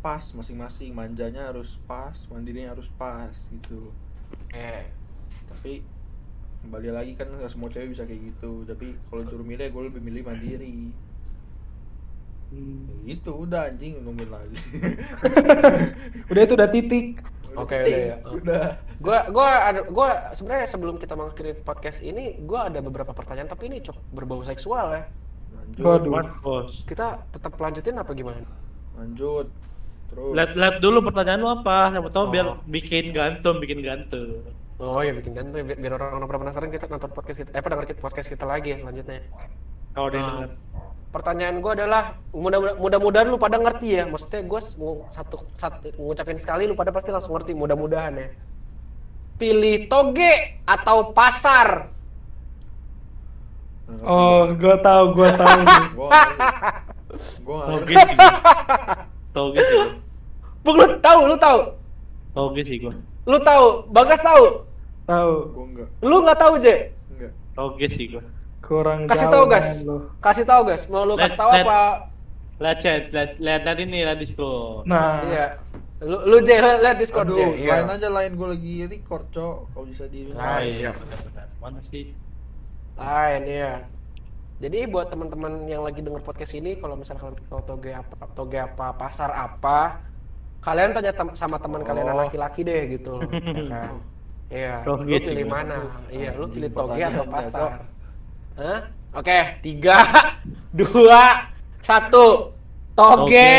B: pas masing-masing manjanya harus pas mandirinya harus pas gitu
A: Eh,
B: tapi kembali lagi kan nggak semua cewek bisa kayak gitu tapi kalau suruh milih gue lebih milih mandiri Ya itu udah anjing ngomongin lagi
D: Udah itu udah titik.
A: Oke,
B: Udah,
A: udah, ya.
B: udah
A: gua gua ada gua sebenarnya sebelum kita mengakhiri podcast ini gua ada beberapa pertanyaan tapi ini cukup berbau seksual ya.
B: lanjut
D: Waduh.
C: What bos?
A: Kita tetap lanjutin apa gimana?
B: lanjut terus
C: Lihat lihat dulu pertanyaan lu apa, siapa tahu
A: Oh.
C: biar bikin gantung, bikin gantung.
A: Oh ya bikin gantung biar, biar orang-orang pada penasaran kita nonton podcast kita eh pada dengerin podcast kita lagi ya selanjutnya.
C: Kalau ada yang
A: Ah.
C: dengar.
A: Pertanyaan gua adalah mudah- mudah-mudahan lu pada ngerti ya. Maksudnya gua s- ngu- satu satu ngucapin sekali lu pada pasti langsung ngerti mudah-mudahan ya. Pilih toge atau pasar?
B: Nggak Nah, ngerti.
D: Oh, gue tahu, gue tahu.
B: Gua nggak ngerti. Gua nggak
C: Toge
B: ngerti.
C: sih. gua. Toge sih. gua.
A: Bung lu tahu, lu tahu.
C: Toge sih gua.
A: Lu tahu, Bagas tahu.
D: tahu.
B: Gua nggak
A: Lu nggak tahu, J?
B: nggak
C: Toge sih gua.
D: Kurang
A: Kasih
D: jauh,
A: tahu, Gas.
D: men, lu.
A: Kasih tahu, Gas. Mau lu
C: Let-
A: kasih tahu
C: let-
A: apa?
C: Lihat chat, lihat lihat tadi nih lihat Discord.
D: Nah,
A: Iya. Lu lu J, lihat lihat Discord, J.
B: Ah. aduh
A: Iya.
B: lain aja lain gue lagi record cok kalau bisa di
A: Ah, iya.
C: Benar-benar. Mana sih?
A: Lain, iya. Jadi buat teman-teman yang lagi denger podcast ini, kalau misalnya kalian tahu toge apa, toge apa, pasar apa, kalian tanya tem- sama teman kalian yang
B: Oh.
A: laki-laki deh gitu loh. ya kan? Iya,
C: Toge
A: lu
C: sih,
A: pilih
C: gua.
A: mana? Iya, lu
B: Anjing,
A: pilih toge atau
B: pertanyaan
A: pasar?
B: dasar.
A: Hah? Oke, tiga, dua, satu. Toge.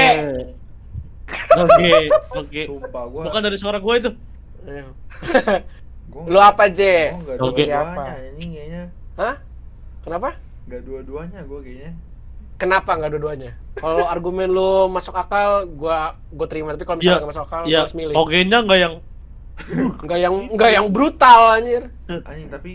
C: Toge. Toge.
B: sumpah gue
C: Bukan dari suara gua itu.
A: Iya.
B: gua
A: Lu apa, J?
B: gue nggak
C: Toge.
B: dua-duanya
A: Apa?
B: ini kayaknya
A: Hah? Kenapa?
B: nggak dua-duanya gue kayaknya
A: Kenapa nggak dua-duanya? Kalau argumen lu masuk akal, gua gua terima. Tapi kalau misalnya
C: Iya.
A: nggak masuk akal, gua
C: Iya,
A: harus milih.
C: togenya enggak yang
A: Nggak yang nggak yang brutal anjir.
B: anjing tapi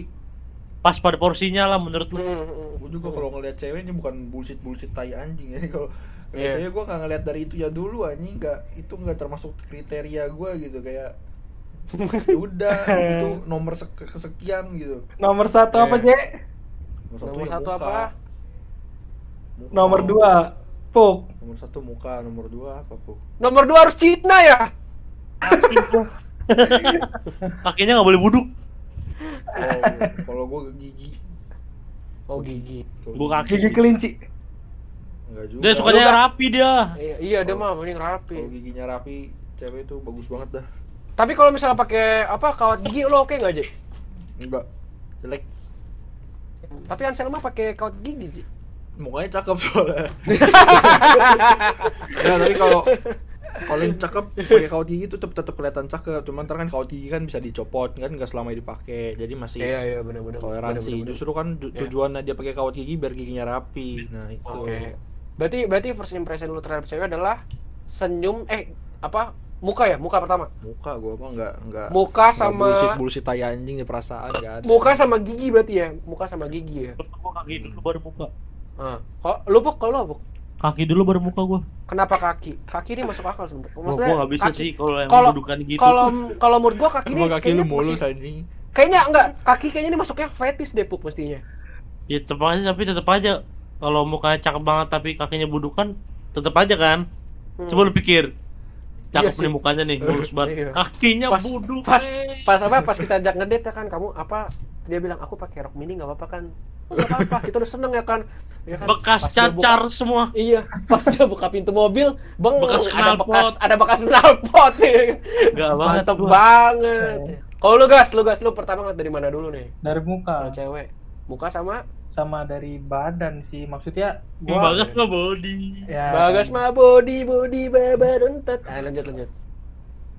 C: pas pada porsinya lah menurut lu.
A: Hmm,
B: gue juga kalau ngelihat cewek ini bukan bullshit bullshit tai anjing ya kalau ngeliat
A: Iya.
B: cewek gue nggak ngeliat dari itu ya dulu anjing nggak itu nggak termasuk kriteria gue gitu kayak ya udah itu nomor sek- kesekian gitu
D: nomor satu apa,
A: Iya.
D: Je?
A: Nomor
B: ya
A: satu
B: muka.
A: apa?
B: Muka.
D: Nomor dua, Puk.
B: nomor satu muka nomor dua apa Oh, Puk?
A: Nomor dua harus Cina ya.
C: Kakinya nggak boleh buduk.
B: Kalau- kalau gue gigi
A: Oh gigi.
B: Kalau
C: Gua
B: gigi,
D: Gigi kelinci.
B: nggak juga
C: Dia sukanya yang
A: Lu-
C: rapi dia.
A: Iya, iya dia
B: Kalau-
A: mah mending rapi.
B: kalau giginya rapi cewek itu bagus banget dah
A: Tapi kalau misalnya pakai apa kawat gigi lo oke nggak, Ji?
B: enggak jelek
A: Tapi Ansel mah pakai kawat gigi, Ji.
B: mukanya cakep soalnya Nah, tapi kalau kalau yang cakep pakai kaut gigi itu tetap tetap kelihatan cakep. Cuman ntar kan kaut gigi kan bisa dicopot kan nggak selama dipakai. Jadi masih
A: Iya, iya benar-benar.
B: toleransi.
A: Benar-benar.
B: Justru kan ju-
A: Iya.
B: tujuannya dia pakai kaut gigi biar giginya rapi. Nah, itu.
A: Oke. Berarti berarti first impression lu terhadap cewek adalah senyum eh apa muka ya muka pertama
B: Muka gua mah nggak nggak
A: muka
B: nggak
A: sama
B: bullshit bullshit tai anjing di perasaan nggak ada.
A: muka sama gigi berarti ya muka sama gigi ya
C: Pertama kaki dulu baru muka.
A: ah. kok lu Pok? kalau lu, Pok?
C: Kaki dulu baru muka gua.
A: kenapa kaki kaki ini masuk akal sebenarnya
C: Gua gua nggak bisa
A: kaki-
C: sih kalau yang
A: kalau-
C: budukan gitu.
A: kalau kalau menurut gua kaki ini
B: Emang kaki lu
A: kayaknya
B: mulus ya?
A: masih-
B: anjing.
A: kayaknya enggak kaki kayaknya ini masuknya fetis deh Puk, mestinya
C: Ya tetap aja tapi tetap aja kalau mukanya cakep banget tapi kakinya budukan tetap aja kan.
A: Hmm.
C: Coba lu pikir. Cakep
A: Iya sih.
C: nih mukanya nih, mulus banget.
A: Iya.
C: Kakinya
A: Pas-
C: buduk.
A: pas
C: eh.
A: Iya. pas apa pas kita ajak ngedate ya kan kamu apa dia bilang aku pakai rok mini nggak apa-apa kan Oh, nggak apa-apa kita udah seneng ya kan, ya kan? Pas
C: bekas
A: dia buka-
C: cacar semua.
A: Iya, pas dia buka pintu mobil, bang
C: Bekas
A: ada
C: knalpot.
A: bekas ada bekas knalpot ya.
C: Enggak banget.
A: Mantep
C: gua. Iya.
A: banget. Kalau lu gas, lu gas lu pertama ngeliat dari mana dulu nih?
D: Dari
A: Kalau
D: muka.
A: cewek, muka sama
D: Sama dari badan sih. Maksudnya,
C: Gua
D: gua...
C: bagas mah body.
D: Ya,
A: Bagas mah body body babar entet. Ah, lanjut lanjut.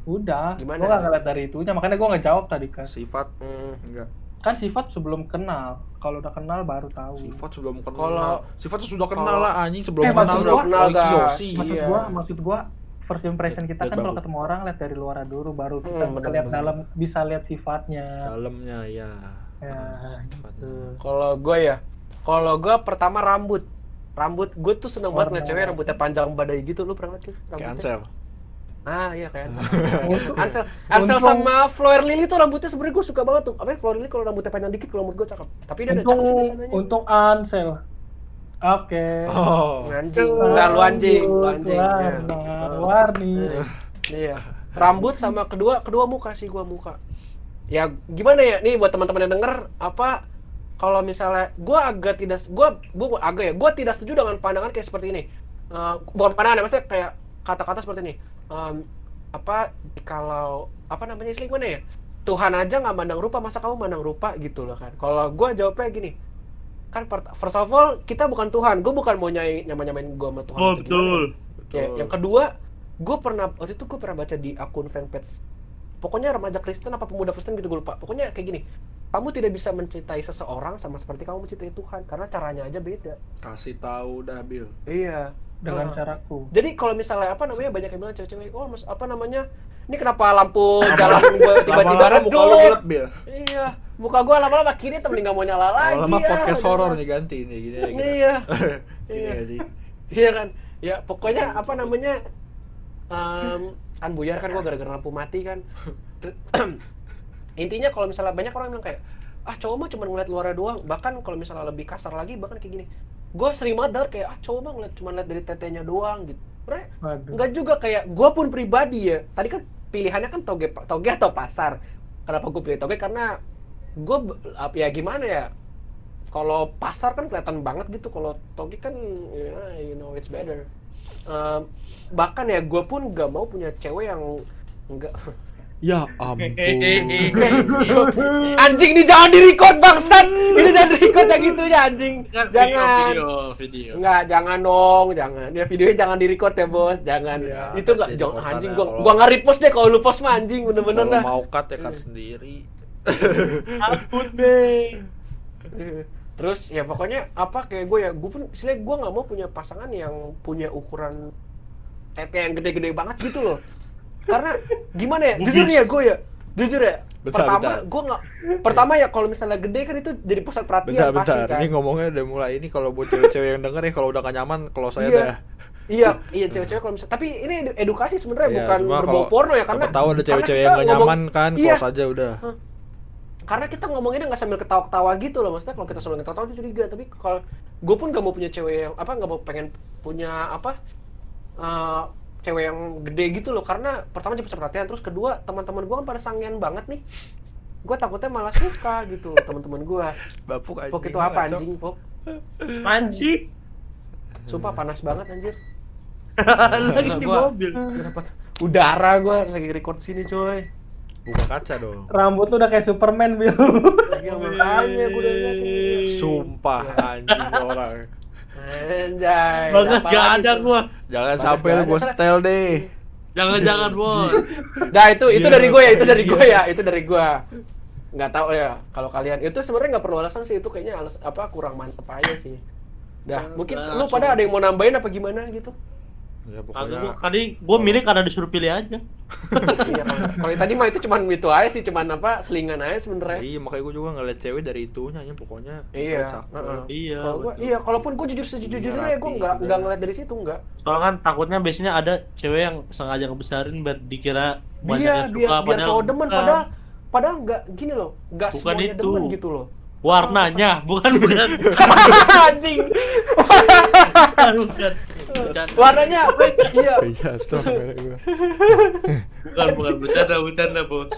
D: Udah.
A: Gimana?
D: Gua nggak ngeliat dari itunya. Makanya gua nggak jawab tadi, kan.
B: Sifat
A: Hmm.
B: enggak.
D: Kan sifat sebelum kenal. Kalau udah kenal baru tahu.
B: Sifat sebelum kenal.
A: Kalau-
B: sifat tuh sudah kenal lah anjing sebelum
D: Eh,
B: kenal
D: maksud
B: udah
D: gua-
B: kenal
A: kenal, guys.
B: kiyosi.
D: maksud
A: Iya.
D: gua maksud gua first impression kita
B: Lihat
D: kan kalau
B: baru.
D: ketemu orang lihat dari luar dulu baru kita
A: Hmm,
D: bisa
A: bener,
D: lihat
A: bener.
D: dalam bisa lihat sifatnya
B: Dalamnya ya.
D: ya gitu
A: Kalau gue ya, kalau gue pertama rambut. Rambut gue tuh seneng banget ngeliat
D: Warna.
A: cewek rambutnya panjang badai gitu. Lu pernah ngeliat sih
B: Kayak
A: rambutnya?
B: Ansel.
A: Ah iya kayak
D: Untung-
A: Ansel, Ansel
D: untung-
A: sama Flower Lily tuh rambutnya sebenarnya gue suka banget tuh. Apa ya, Flower Lily kalau rambutnya panjang dikit kalau menurut gue cakep. Tapi dia ada
D: untung
A: cakep sih desainnya.
D: untung Ansel. Oke.
B: Oh.
A: Anjing, enggak lu anjing, lu
D: Rambut
A: anjing.
D: warna
A: Iya.
D: warni.
A: Iya. Rambut sama kedua kedua muka sih gua muka. Ya gimana ya nih buat teman-teman yang denger apa kalau misalnya gua agak tidak gua gua agak ya gua tidak setuju dengan pandangan kayak seperti ini. Eh, bukan pandangan ya maksudnya kayak kata-kata seperti ini. Em, apa kalau apa namanya istilah gimana ya? Tuhan aja nggak mandang rupa masa kamu mandang rupa gitu loh kan. Kalau gua jawabnya gini kan per- first of all kita bukan Tuhan, gue bukan mau nyai nyamain gue sama Tuhan. atau
C: Oh,
A: gimana.
C: betul.
A: Ya,
E: Betul.
A: yang kedua, gue pernah waktu itu gue pernah baca di akun fanpage. Pokoknya remaja Kristen apa pemuda Kristen gitu gue lupa. Pokoknya kayak gini. Kamu tidak bisa mencintai seseorang sama seperti kamu mencintai Tuhan karena caranya aja beda.
E: Kasih tahu dah Bil.
A: Iya.
D: Dengan
A: Ah.
D: caraku.
A: Jadi kalau misalnya apa namanya banyak yang bilang cewek-cewek, "Oh, mas, apa namanya? Ini kenapa lampu jalan gua tiba-tiba
E: Lama-lama muka lu
A: redup?"
E: gelap Bil.
A: Iya. Muka gua lama-lama kiri temen nggak mau nyala lagi.
E: Lama-lama
A: ya,
E: podcast
A: gitu.
E: horor nih ganti nih gini ya kita.
A: Iya.
E: Gini ya sih.
A: Iya kan? Ya pokoknya apa namanya? em, kan buyar kan gua gara-gara lampu mati kan. Intinya kalau misalnya banyak orang bilang kayak ah cowok mah cuma ngeliat luarnya doang, bahkan kalau misalnya lebih kasar lagi bahkan kayak gini. Gua sering banget denger kayak ah cowok mah ngeliat cuma ngeliat dari tetenya doang gitu. Bre,
D: Waduh.
A: enggak juga kayak gua pun pribadi ya. Tadi kan pilihannya kan toge toge atau pasar. Kenapa gue pilih toge? Karena gue ya gimana ya? Kalau pasar kan kelihatan banget gitu. Kalau toge kan ya, you know it's better. Eh, bahkan ya gue pun gak mau punya cewek yang enggak
B: Ya
C: Eh, eh,
B: ampun.
C: eh, eh, eh, eh.
A: anjing ini jangan di record bangsat ini jangan di record yang itunya anjing
C: Kan video,
A: jangan
C: video, video.
A: Enggak, jangan dong, jangan. Ya videonya jangan di-record ya, Bos. Jangan.
E: Ya,
A: itu enggak
E: pasti
A: jangan
E: di-record
A: anjing
E: lah
A: gua
E: kalau-
A: gua enggak repost deh kalau lu post mah anjing bener-bener
E: Kalau
A: dah.
E: mau cut ya cut sendiri.
C: Ampun deh.
A: Iya. Terus ya pokoknya apa kayak gue ya, gue pun istilahnya gue nggak mau punya pasangan yang punya ukuran tete yang gede-gede banget gitu loh. Karena gimana ya, jujur ya gue ya, jujur ya.
B: Bentar,
A: pertama
B: bentar.
A: gue nggak, pertama ya kalau misalnya gede kan itu jadi pusat perhatian
E: Bentar,
A: pasti
E: bentar.
A: kan.
E: Ini ngomongnya udah mulai ini kalau buat cewek-cewek yang denger ya kalau udah gak nyaman kalau saya
A: Iya.
E: dah.
A: Iya, iya cewek-cewek kalau misalnya, tapi ini edu- edukasi sebenarnya
E: Iya,
A: Eh, bukan
E: cuma
A: berbau
E: kalau-
A: porno ya karena
E: Siapa tahu ada
A: karena
E: cewek-cewek
A: kita
E: yang gak
A: ngomong-
E: nyaman kan,
A: Iya.
E: close aja udah.
A: karena kita ngomonginnya nggak sambil ketawa-ketawa gitu loh maksudnya kalau kita sambil ketawa-ketawa itu curiga tapi kalau gue pun gak mau punya cewek yang apa nggak mau pengen punya apa eh, cewek yang gede gitu loh karena pertama jadi pusat perhatian terus kedua teman-teman gue kan pada sangean banget nih gue takutnya malah suka gitu loh teman-teman gue
E: Bapuk anjing.
A: pok itu gitu apa
E: ngaco.
A: anjing pok
C: Apaan sih?
A: sumpah panas
E: Hmm.
A: banget anjir
C: Lagi di
A: Gua-
C: mobil.
A: Gua dapat udara gue harus lagi record sini coy
E: Buka kaca dong.
D: Rambut lu udah kayak Superman, Bil.
A: iya makanya gue udah ngeliatin
E: Sumpah anjing orang.
A: Anjay.
C: Bagas
A: apalagi
C: gak ada
A: tuh.
C: gua.
E: Jangan
A: Bagas
E: sampai lu
A: jangan.
E: gua setel deh.
C: Jangan-jangan bos.
A: Nah itu itu
C: Iya,
E: Gila,
A: dari gue ya, itu
E: gila.
A: dari gue ya, itu dari gue. Nggak tahu ya kalau kalian itu sebenarnya nggak perlu alasan sih itu kayaknya alas apa kurang mantep aja sih. Dah, mungkin lu pada ada yang mau nambahin apa gimana gitu?
E: Ya
C: Kagak gua
E: pokoknya
C: tadi gua milih karena disuruh pilih aja.
A: Iya, kalau- kalau yang tadi mah itu cuman itu aja sih, cuman apa selingan aja sebenarnya.
E: Iya, makanya gua juga ngeliat cewek dari itunya anjing pokoknya.
A: Iya,
E: cakep.
A: heeh.
C: Iya.
A: Kalau gua,
C: betul.
A: iya, kalaupun gue jujur sejujurnya
E: Iya,
A: gue
E: rapi,
A: nggak
E: bener.
A: nggak ngeliat dari situ nggak.
C: Soalnya kan takutnya biasanya ada cewek yang sengaja ngebesarin biar dikira banyak
A: Iya,
C: yang suka
A: biar biar
C: padahal
A: cowok demen
C: bukan.
A: padahal padahal nggak gini loh, nggak
C: Bukan
A: semuanya
C: itu.
A: demen gitu loh.
C: warnanya bukan bukan
A: Anjing.
C: bukan bukan Bercanda.
A: Warnanya iya.
B: Iya, tuh merek gua.
C: bukan bukan bercanda bercanda bos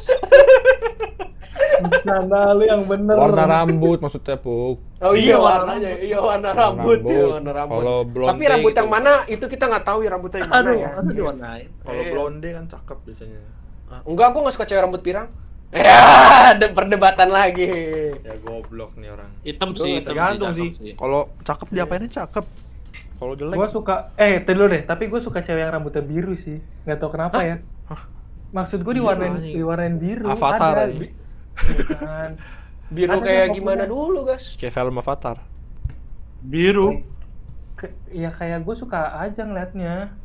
D: Bercanda lu yang bener.
B: Warna rambut maksudnya, Puk.
A: Oh iya
C: Iya, warna
A: warnanya, iya warna rambut, iya warna rambut.
B: Kalau blonde
A: Tapi rambut yang
B: gitu.
A: mana itu kita nggak tahu ya rambutnya yang mana
C: aduh
A: ya.
C: aduh
A: Iya.
C: diwarnain
E: Kalau
A: Iya.
E: blonde kan cakep biasanya.
A: Enggak, aku nggak suka cewek rambut pirang. Ya, ada perdebatan lagi.
E: Ya goblok nih orang.
C: hitam
A: Gua
C: sih
A: nggak
C: hitam
E: Tergantung
C: cakep
E: sih. Kalau cakep diapainnya cakep. Kalau jelek
D: Gue suka, eh tadi dulu deh, tapi gue suka cewek yang rambutnya biru sih. Gak tau kenapa ya. Maksud gue diwarnain,
E: anjing.
D: diwarnain biru.
B: Avatar,
D: ada. Iya kan.
B: anjing.
D: Bukan.
A: Biru
D: Ada
A: kayak
D: yang
A: gimana
D: populer.
A: dulu, guys?
B: kayak film Avatar.
C: biru
D: Ke- ya kayak gue suka aja ngeliatnya.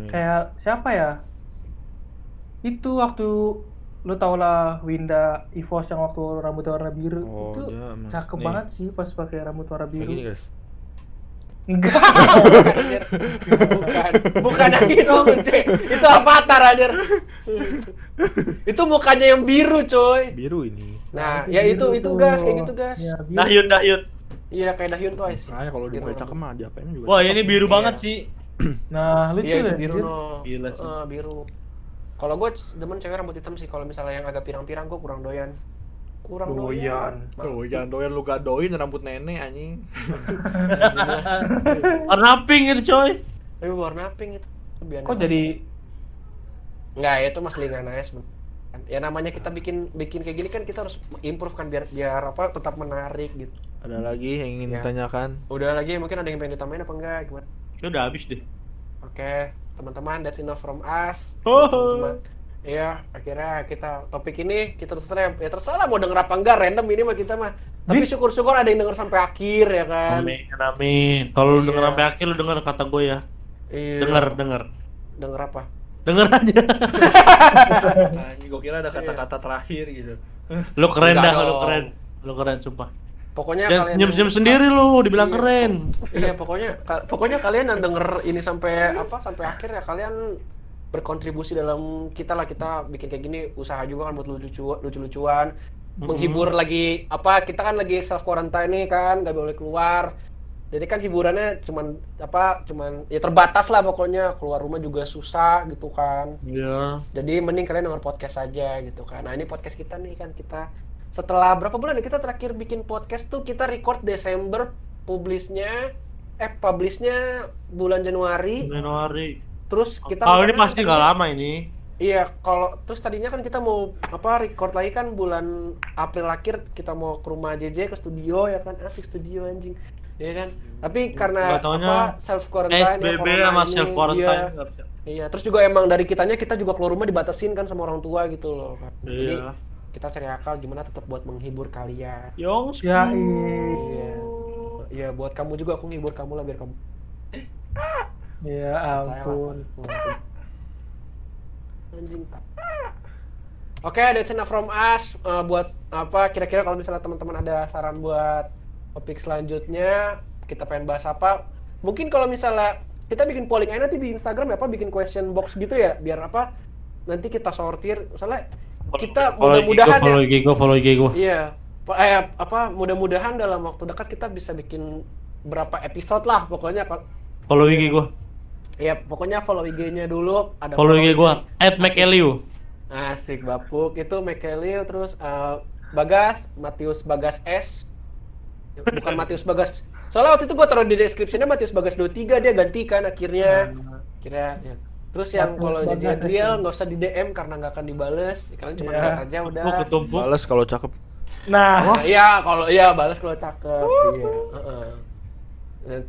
B: Nih.
D: Kayak siapa ya? Itu waktu lu tau lah Winda Evos yang waktu rambutnya warna biru
E: Oh,
D: itu
E: dia emang-
D: cakep
E: nih.
D: banget sih pas pakai rambut warna
B: Kayak gini,
D: biru.
B: guys.
D: Enggak.
A: Bukan, anjir. bukan, bukan bukan yang itu, Cek. Itu avatar aja. itu mukanya yang biru, coy.
B: biru ini
A: Nah, ya itu itu gas kayak gitu, gas.
D: Ya, biru.
C: Dahyun, Dahyun.
A: Iya, kayak Dahyun Twice.
B: makanya kalau
A: Biru.
E: Gitu.
B: dibocak mah diapain juga
D: iya.
C: Wah, ini biru banget sih.
D: Nah, lucu
A: Iya, itu
D: deh.
A: biru,
D: anjir.
A: no.
C: Gila sih.
A: Eh, biru. Kalau gue demen cewek rambut hitam sih, kalau misalnya yang agak pirang-pirang gue kurang doyan. Kurang
D: Doyan.
A: doyan.
E: Tuh, jangan doyan lu gadoin rambut nenek anjing.
C: Warna pink itu, coy.
A: Tapi warna pink itu. Lebih aneh
D: Kok
A: banget.
D: jadi
A: Nggak, itu mas lingan aja sebenarnya. Ya namanya kita bikin bikin kayak gini kan kita harus improve kan biar biar apa tetap menarik gitu.
B: ada lagi yang
E: Iya.
B: ingin
A: Ya.
B: ditanyakan
A: Udah lagi mungkin ada yang pengen ditambahin apa enggak gimana?
C: Itu udah habis deh.
A: Oke, teman-teman that's enough from us.
C: Oh.
A: Teman-teman. Iya, akhirnya kita topik ini kita terserah ya terserah lah mau denger apa enggak random ini mah kita mah. Tapi
D: Bin-
A: syukur-syukur ada yang denger sampai akhir ya kan.
C: Amin, amin. Kalau lu denger
A: Iya.
C: sampai akhir lu denger kata gue ya.
A: Iya.
C: Denger, denger.
A: Denger apa?
C: Denger aja.
E: anjing gua kira ada kata-kata terakhir gitu.
C: Lu keren
A: Enggak
C: dah, lu
A: dong.
C: keren. Lu keren sumpah.
A: Pokoknya
C: Jangan
A: kalian
C: senyum-senyum sendiri lu,
A: Iya.
C: dibilang keren.
A: Iya, pokoknya ka- pokoknya kalian yang denger ini sampai apa sampai akhir ya kalian berkontribusi dalam kita lah kita bikin kayak gini usaha juga kan buat lucu lucu-lucuan menghibur lagi apa kita kan lagi self quarantine nih kan nggak boleh keluar jadi kan hiburannya cuman apa cuman ya terbatas lah pokoknya keluar rumah juga susah gitu kan
C: Iya.
A: jadi mending kalian denger podcast aja gitu kan nah ini podcast kita nih kan kita setelah berapa bulan ya kita terakhir bikin podcast tuh kita record Desember publisnya eh publishnya bulan Januari
C: Januari.
A: terus kita
C: Kalau ini
A: rencana-
C: pasti nggak lama ini.
A: Iya, kalau terus tadinya kan kita mau apa record lagi kan bulan April akhir kita mau ke rumah JJ ke studio ya kan asik studio anjing. Iya kan? Tapi karena
C: Nggak Eh, taunya
A: apa self quarantine
C: SBB sama self quarantine.
A: Iya, iya, terus juga emang dari kitanya kita juga keluar rumah dibatasin kan sama orang tua gitu loh. Kan. Jadi
C: Iya.
A: kita cari akal gimana tetap buat menghibur kalian.
C: Yong,
D: ya
C: school.
A: Iya. Iya, buat kamu juga aku nghibur kamu lah biar kamu.
D: ya ampun.
A: Anjing tak. Oke, that's enough from us. Eh, buat apa kira-kira kalau misalnya teman-teman ada saran buat topik selanjutnya, kita pengen bahas apa? Mungkin kalau misalnya kita bikin polling aja nanti di Instagram ya apa bikin question box gitu ya, biar apa nanti kita sortir. Misalnya kita
C: Follow IG gua,
A: mudah-mudahan ya,
C: follow IG gua, follow IG gua.
A: iya, Pa- eh, apa mudah-mudahan dalam waktu dekat kita bisa bikin berapa episode lah pokoknya kalau-
C: Follow IG gua.
A: ya pokoknya follow IG-nya dulu ada
C: Follow IG gua @mceliu.
A: Asik Bapuk itu Mekelio terus eh, Bagas Matius Bagas S bukan Matius Bagas soalnya waktu itu gue taruh di deskripsinya Matius Bagas 23 dia gantikan akhirnya kira ya. terus yang
D: Matius
A: kalau
D: Bagas.
A: jadi Adriel nggak usah di DM karena nggak akan dibales kalian cuma
D: Iya.
A: lihat aja Ya udah
C: Gua ketumpuk.
B: balas kalau cakep
D: Nah,
A: Nah, iya kalau iya balas kalau cakep iya heeh.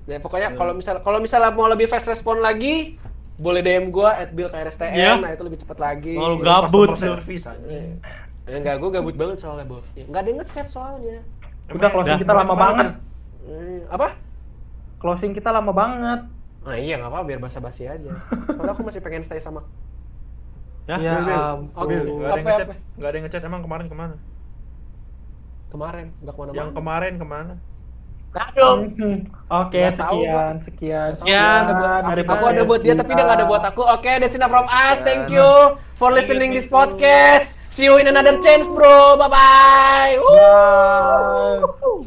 A: Ya, pokoknya kalau misal kalau misalnya mau lebih fast respon lagi boleh DM gua at
C: Iya.
A: nah itu lebih cepat lagi
C: Kalau
A: Iya.
C: gabut.
E: Customer service anjing.
A: Ya, enggak, gue gabut banget soalnya, Bob. Ya, enggak ada yang ngechat soalnya.
D: udah closing kita lama banget.
A: Hmm, apa?
D: Closing kita lama banget.
A: Nah, iya, enggak apa biar basa-basi aja. Soalnya aku masih pengen stay sama.
C: Ya.
D: Ya
A: Aku-
E: Bil, nggak ada
D: ampun.
E: yang
A: apa,
E: ngechat,
A: apa?
E: nggak ada yang ngechat. Emang kemarin kemana?
A: Kemarin, enggak kemana-mana.
B: Ya,
E: Yang kemarin kemana?
C: Aduh.
D: Oke,
A: Nggak tahu,
D: sekian, sekian,
A: Aku ada buat-
D: ya, Dari
A: aku ada buat dia, tapi dia nggak ada buat aku. Oke, that's enough from us. Ya, nah. Thank you for listening this podcast. See you in another chance, bro. Bye-bye. Woo.
D: Bye.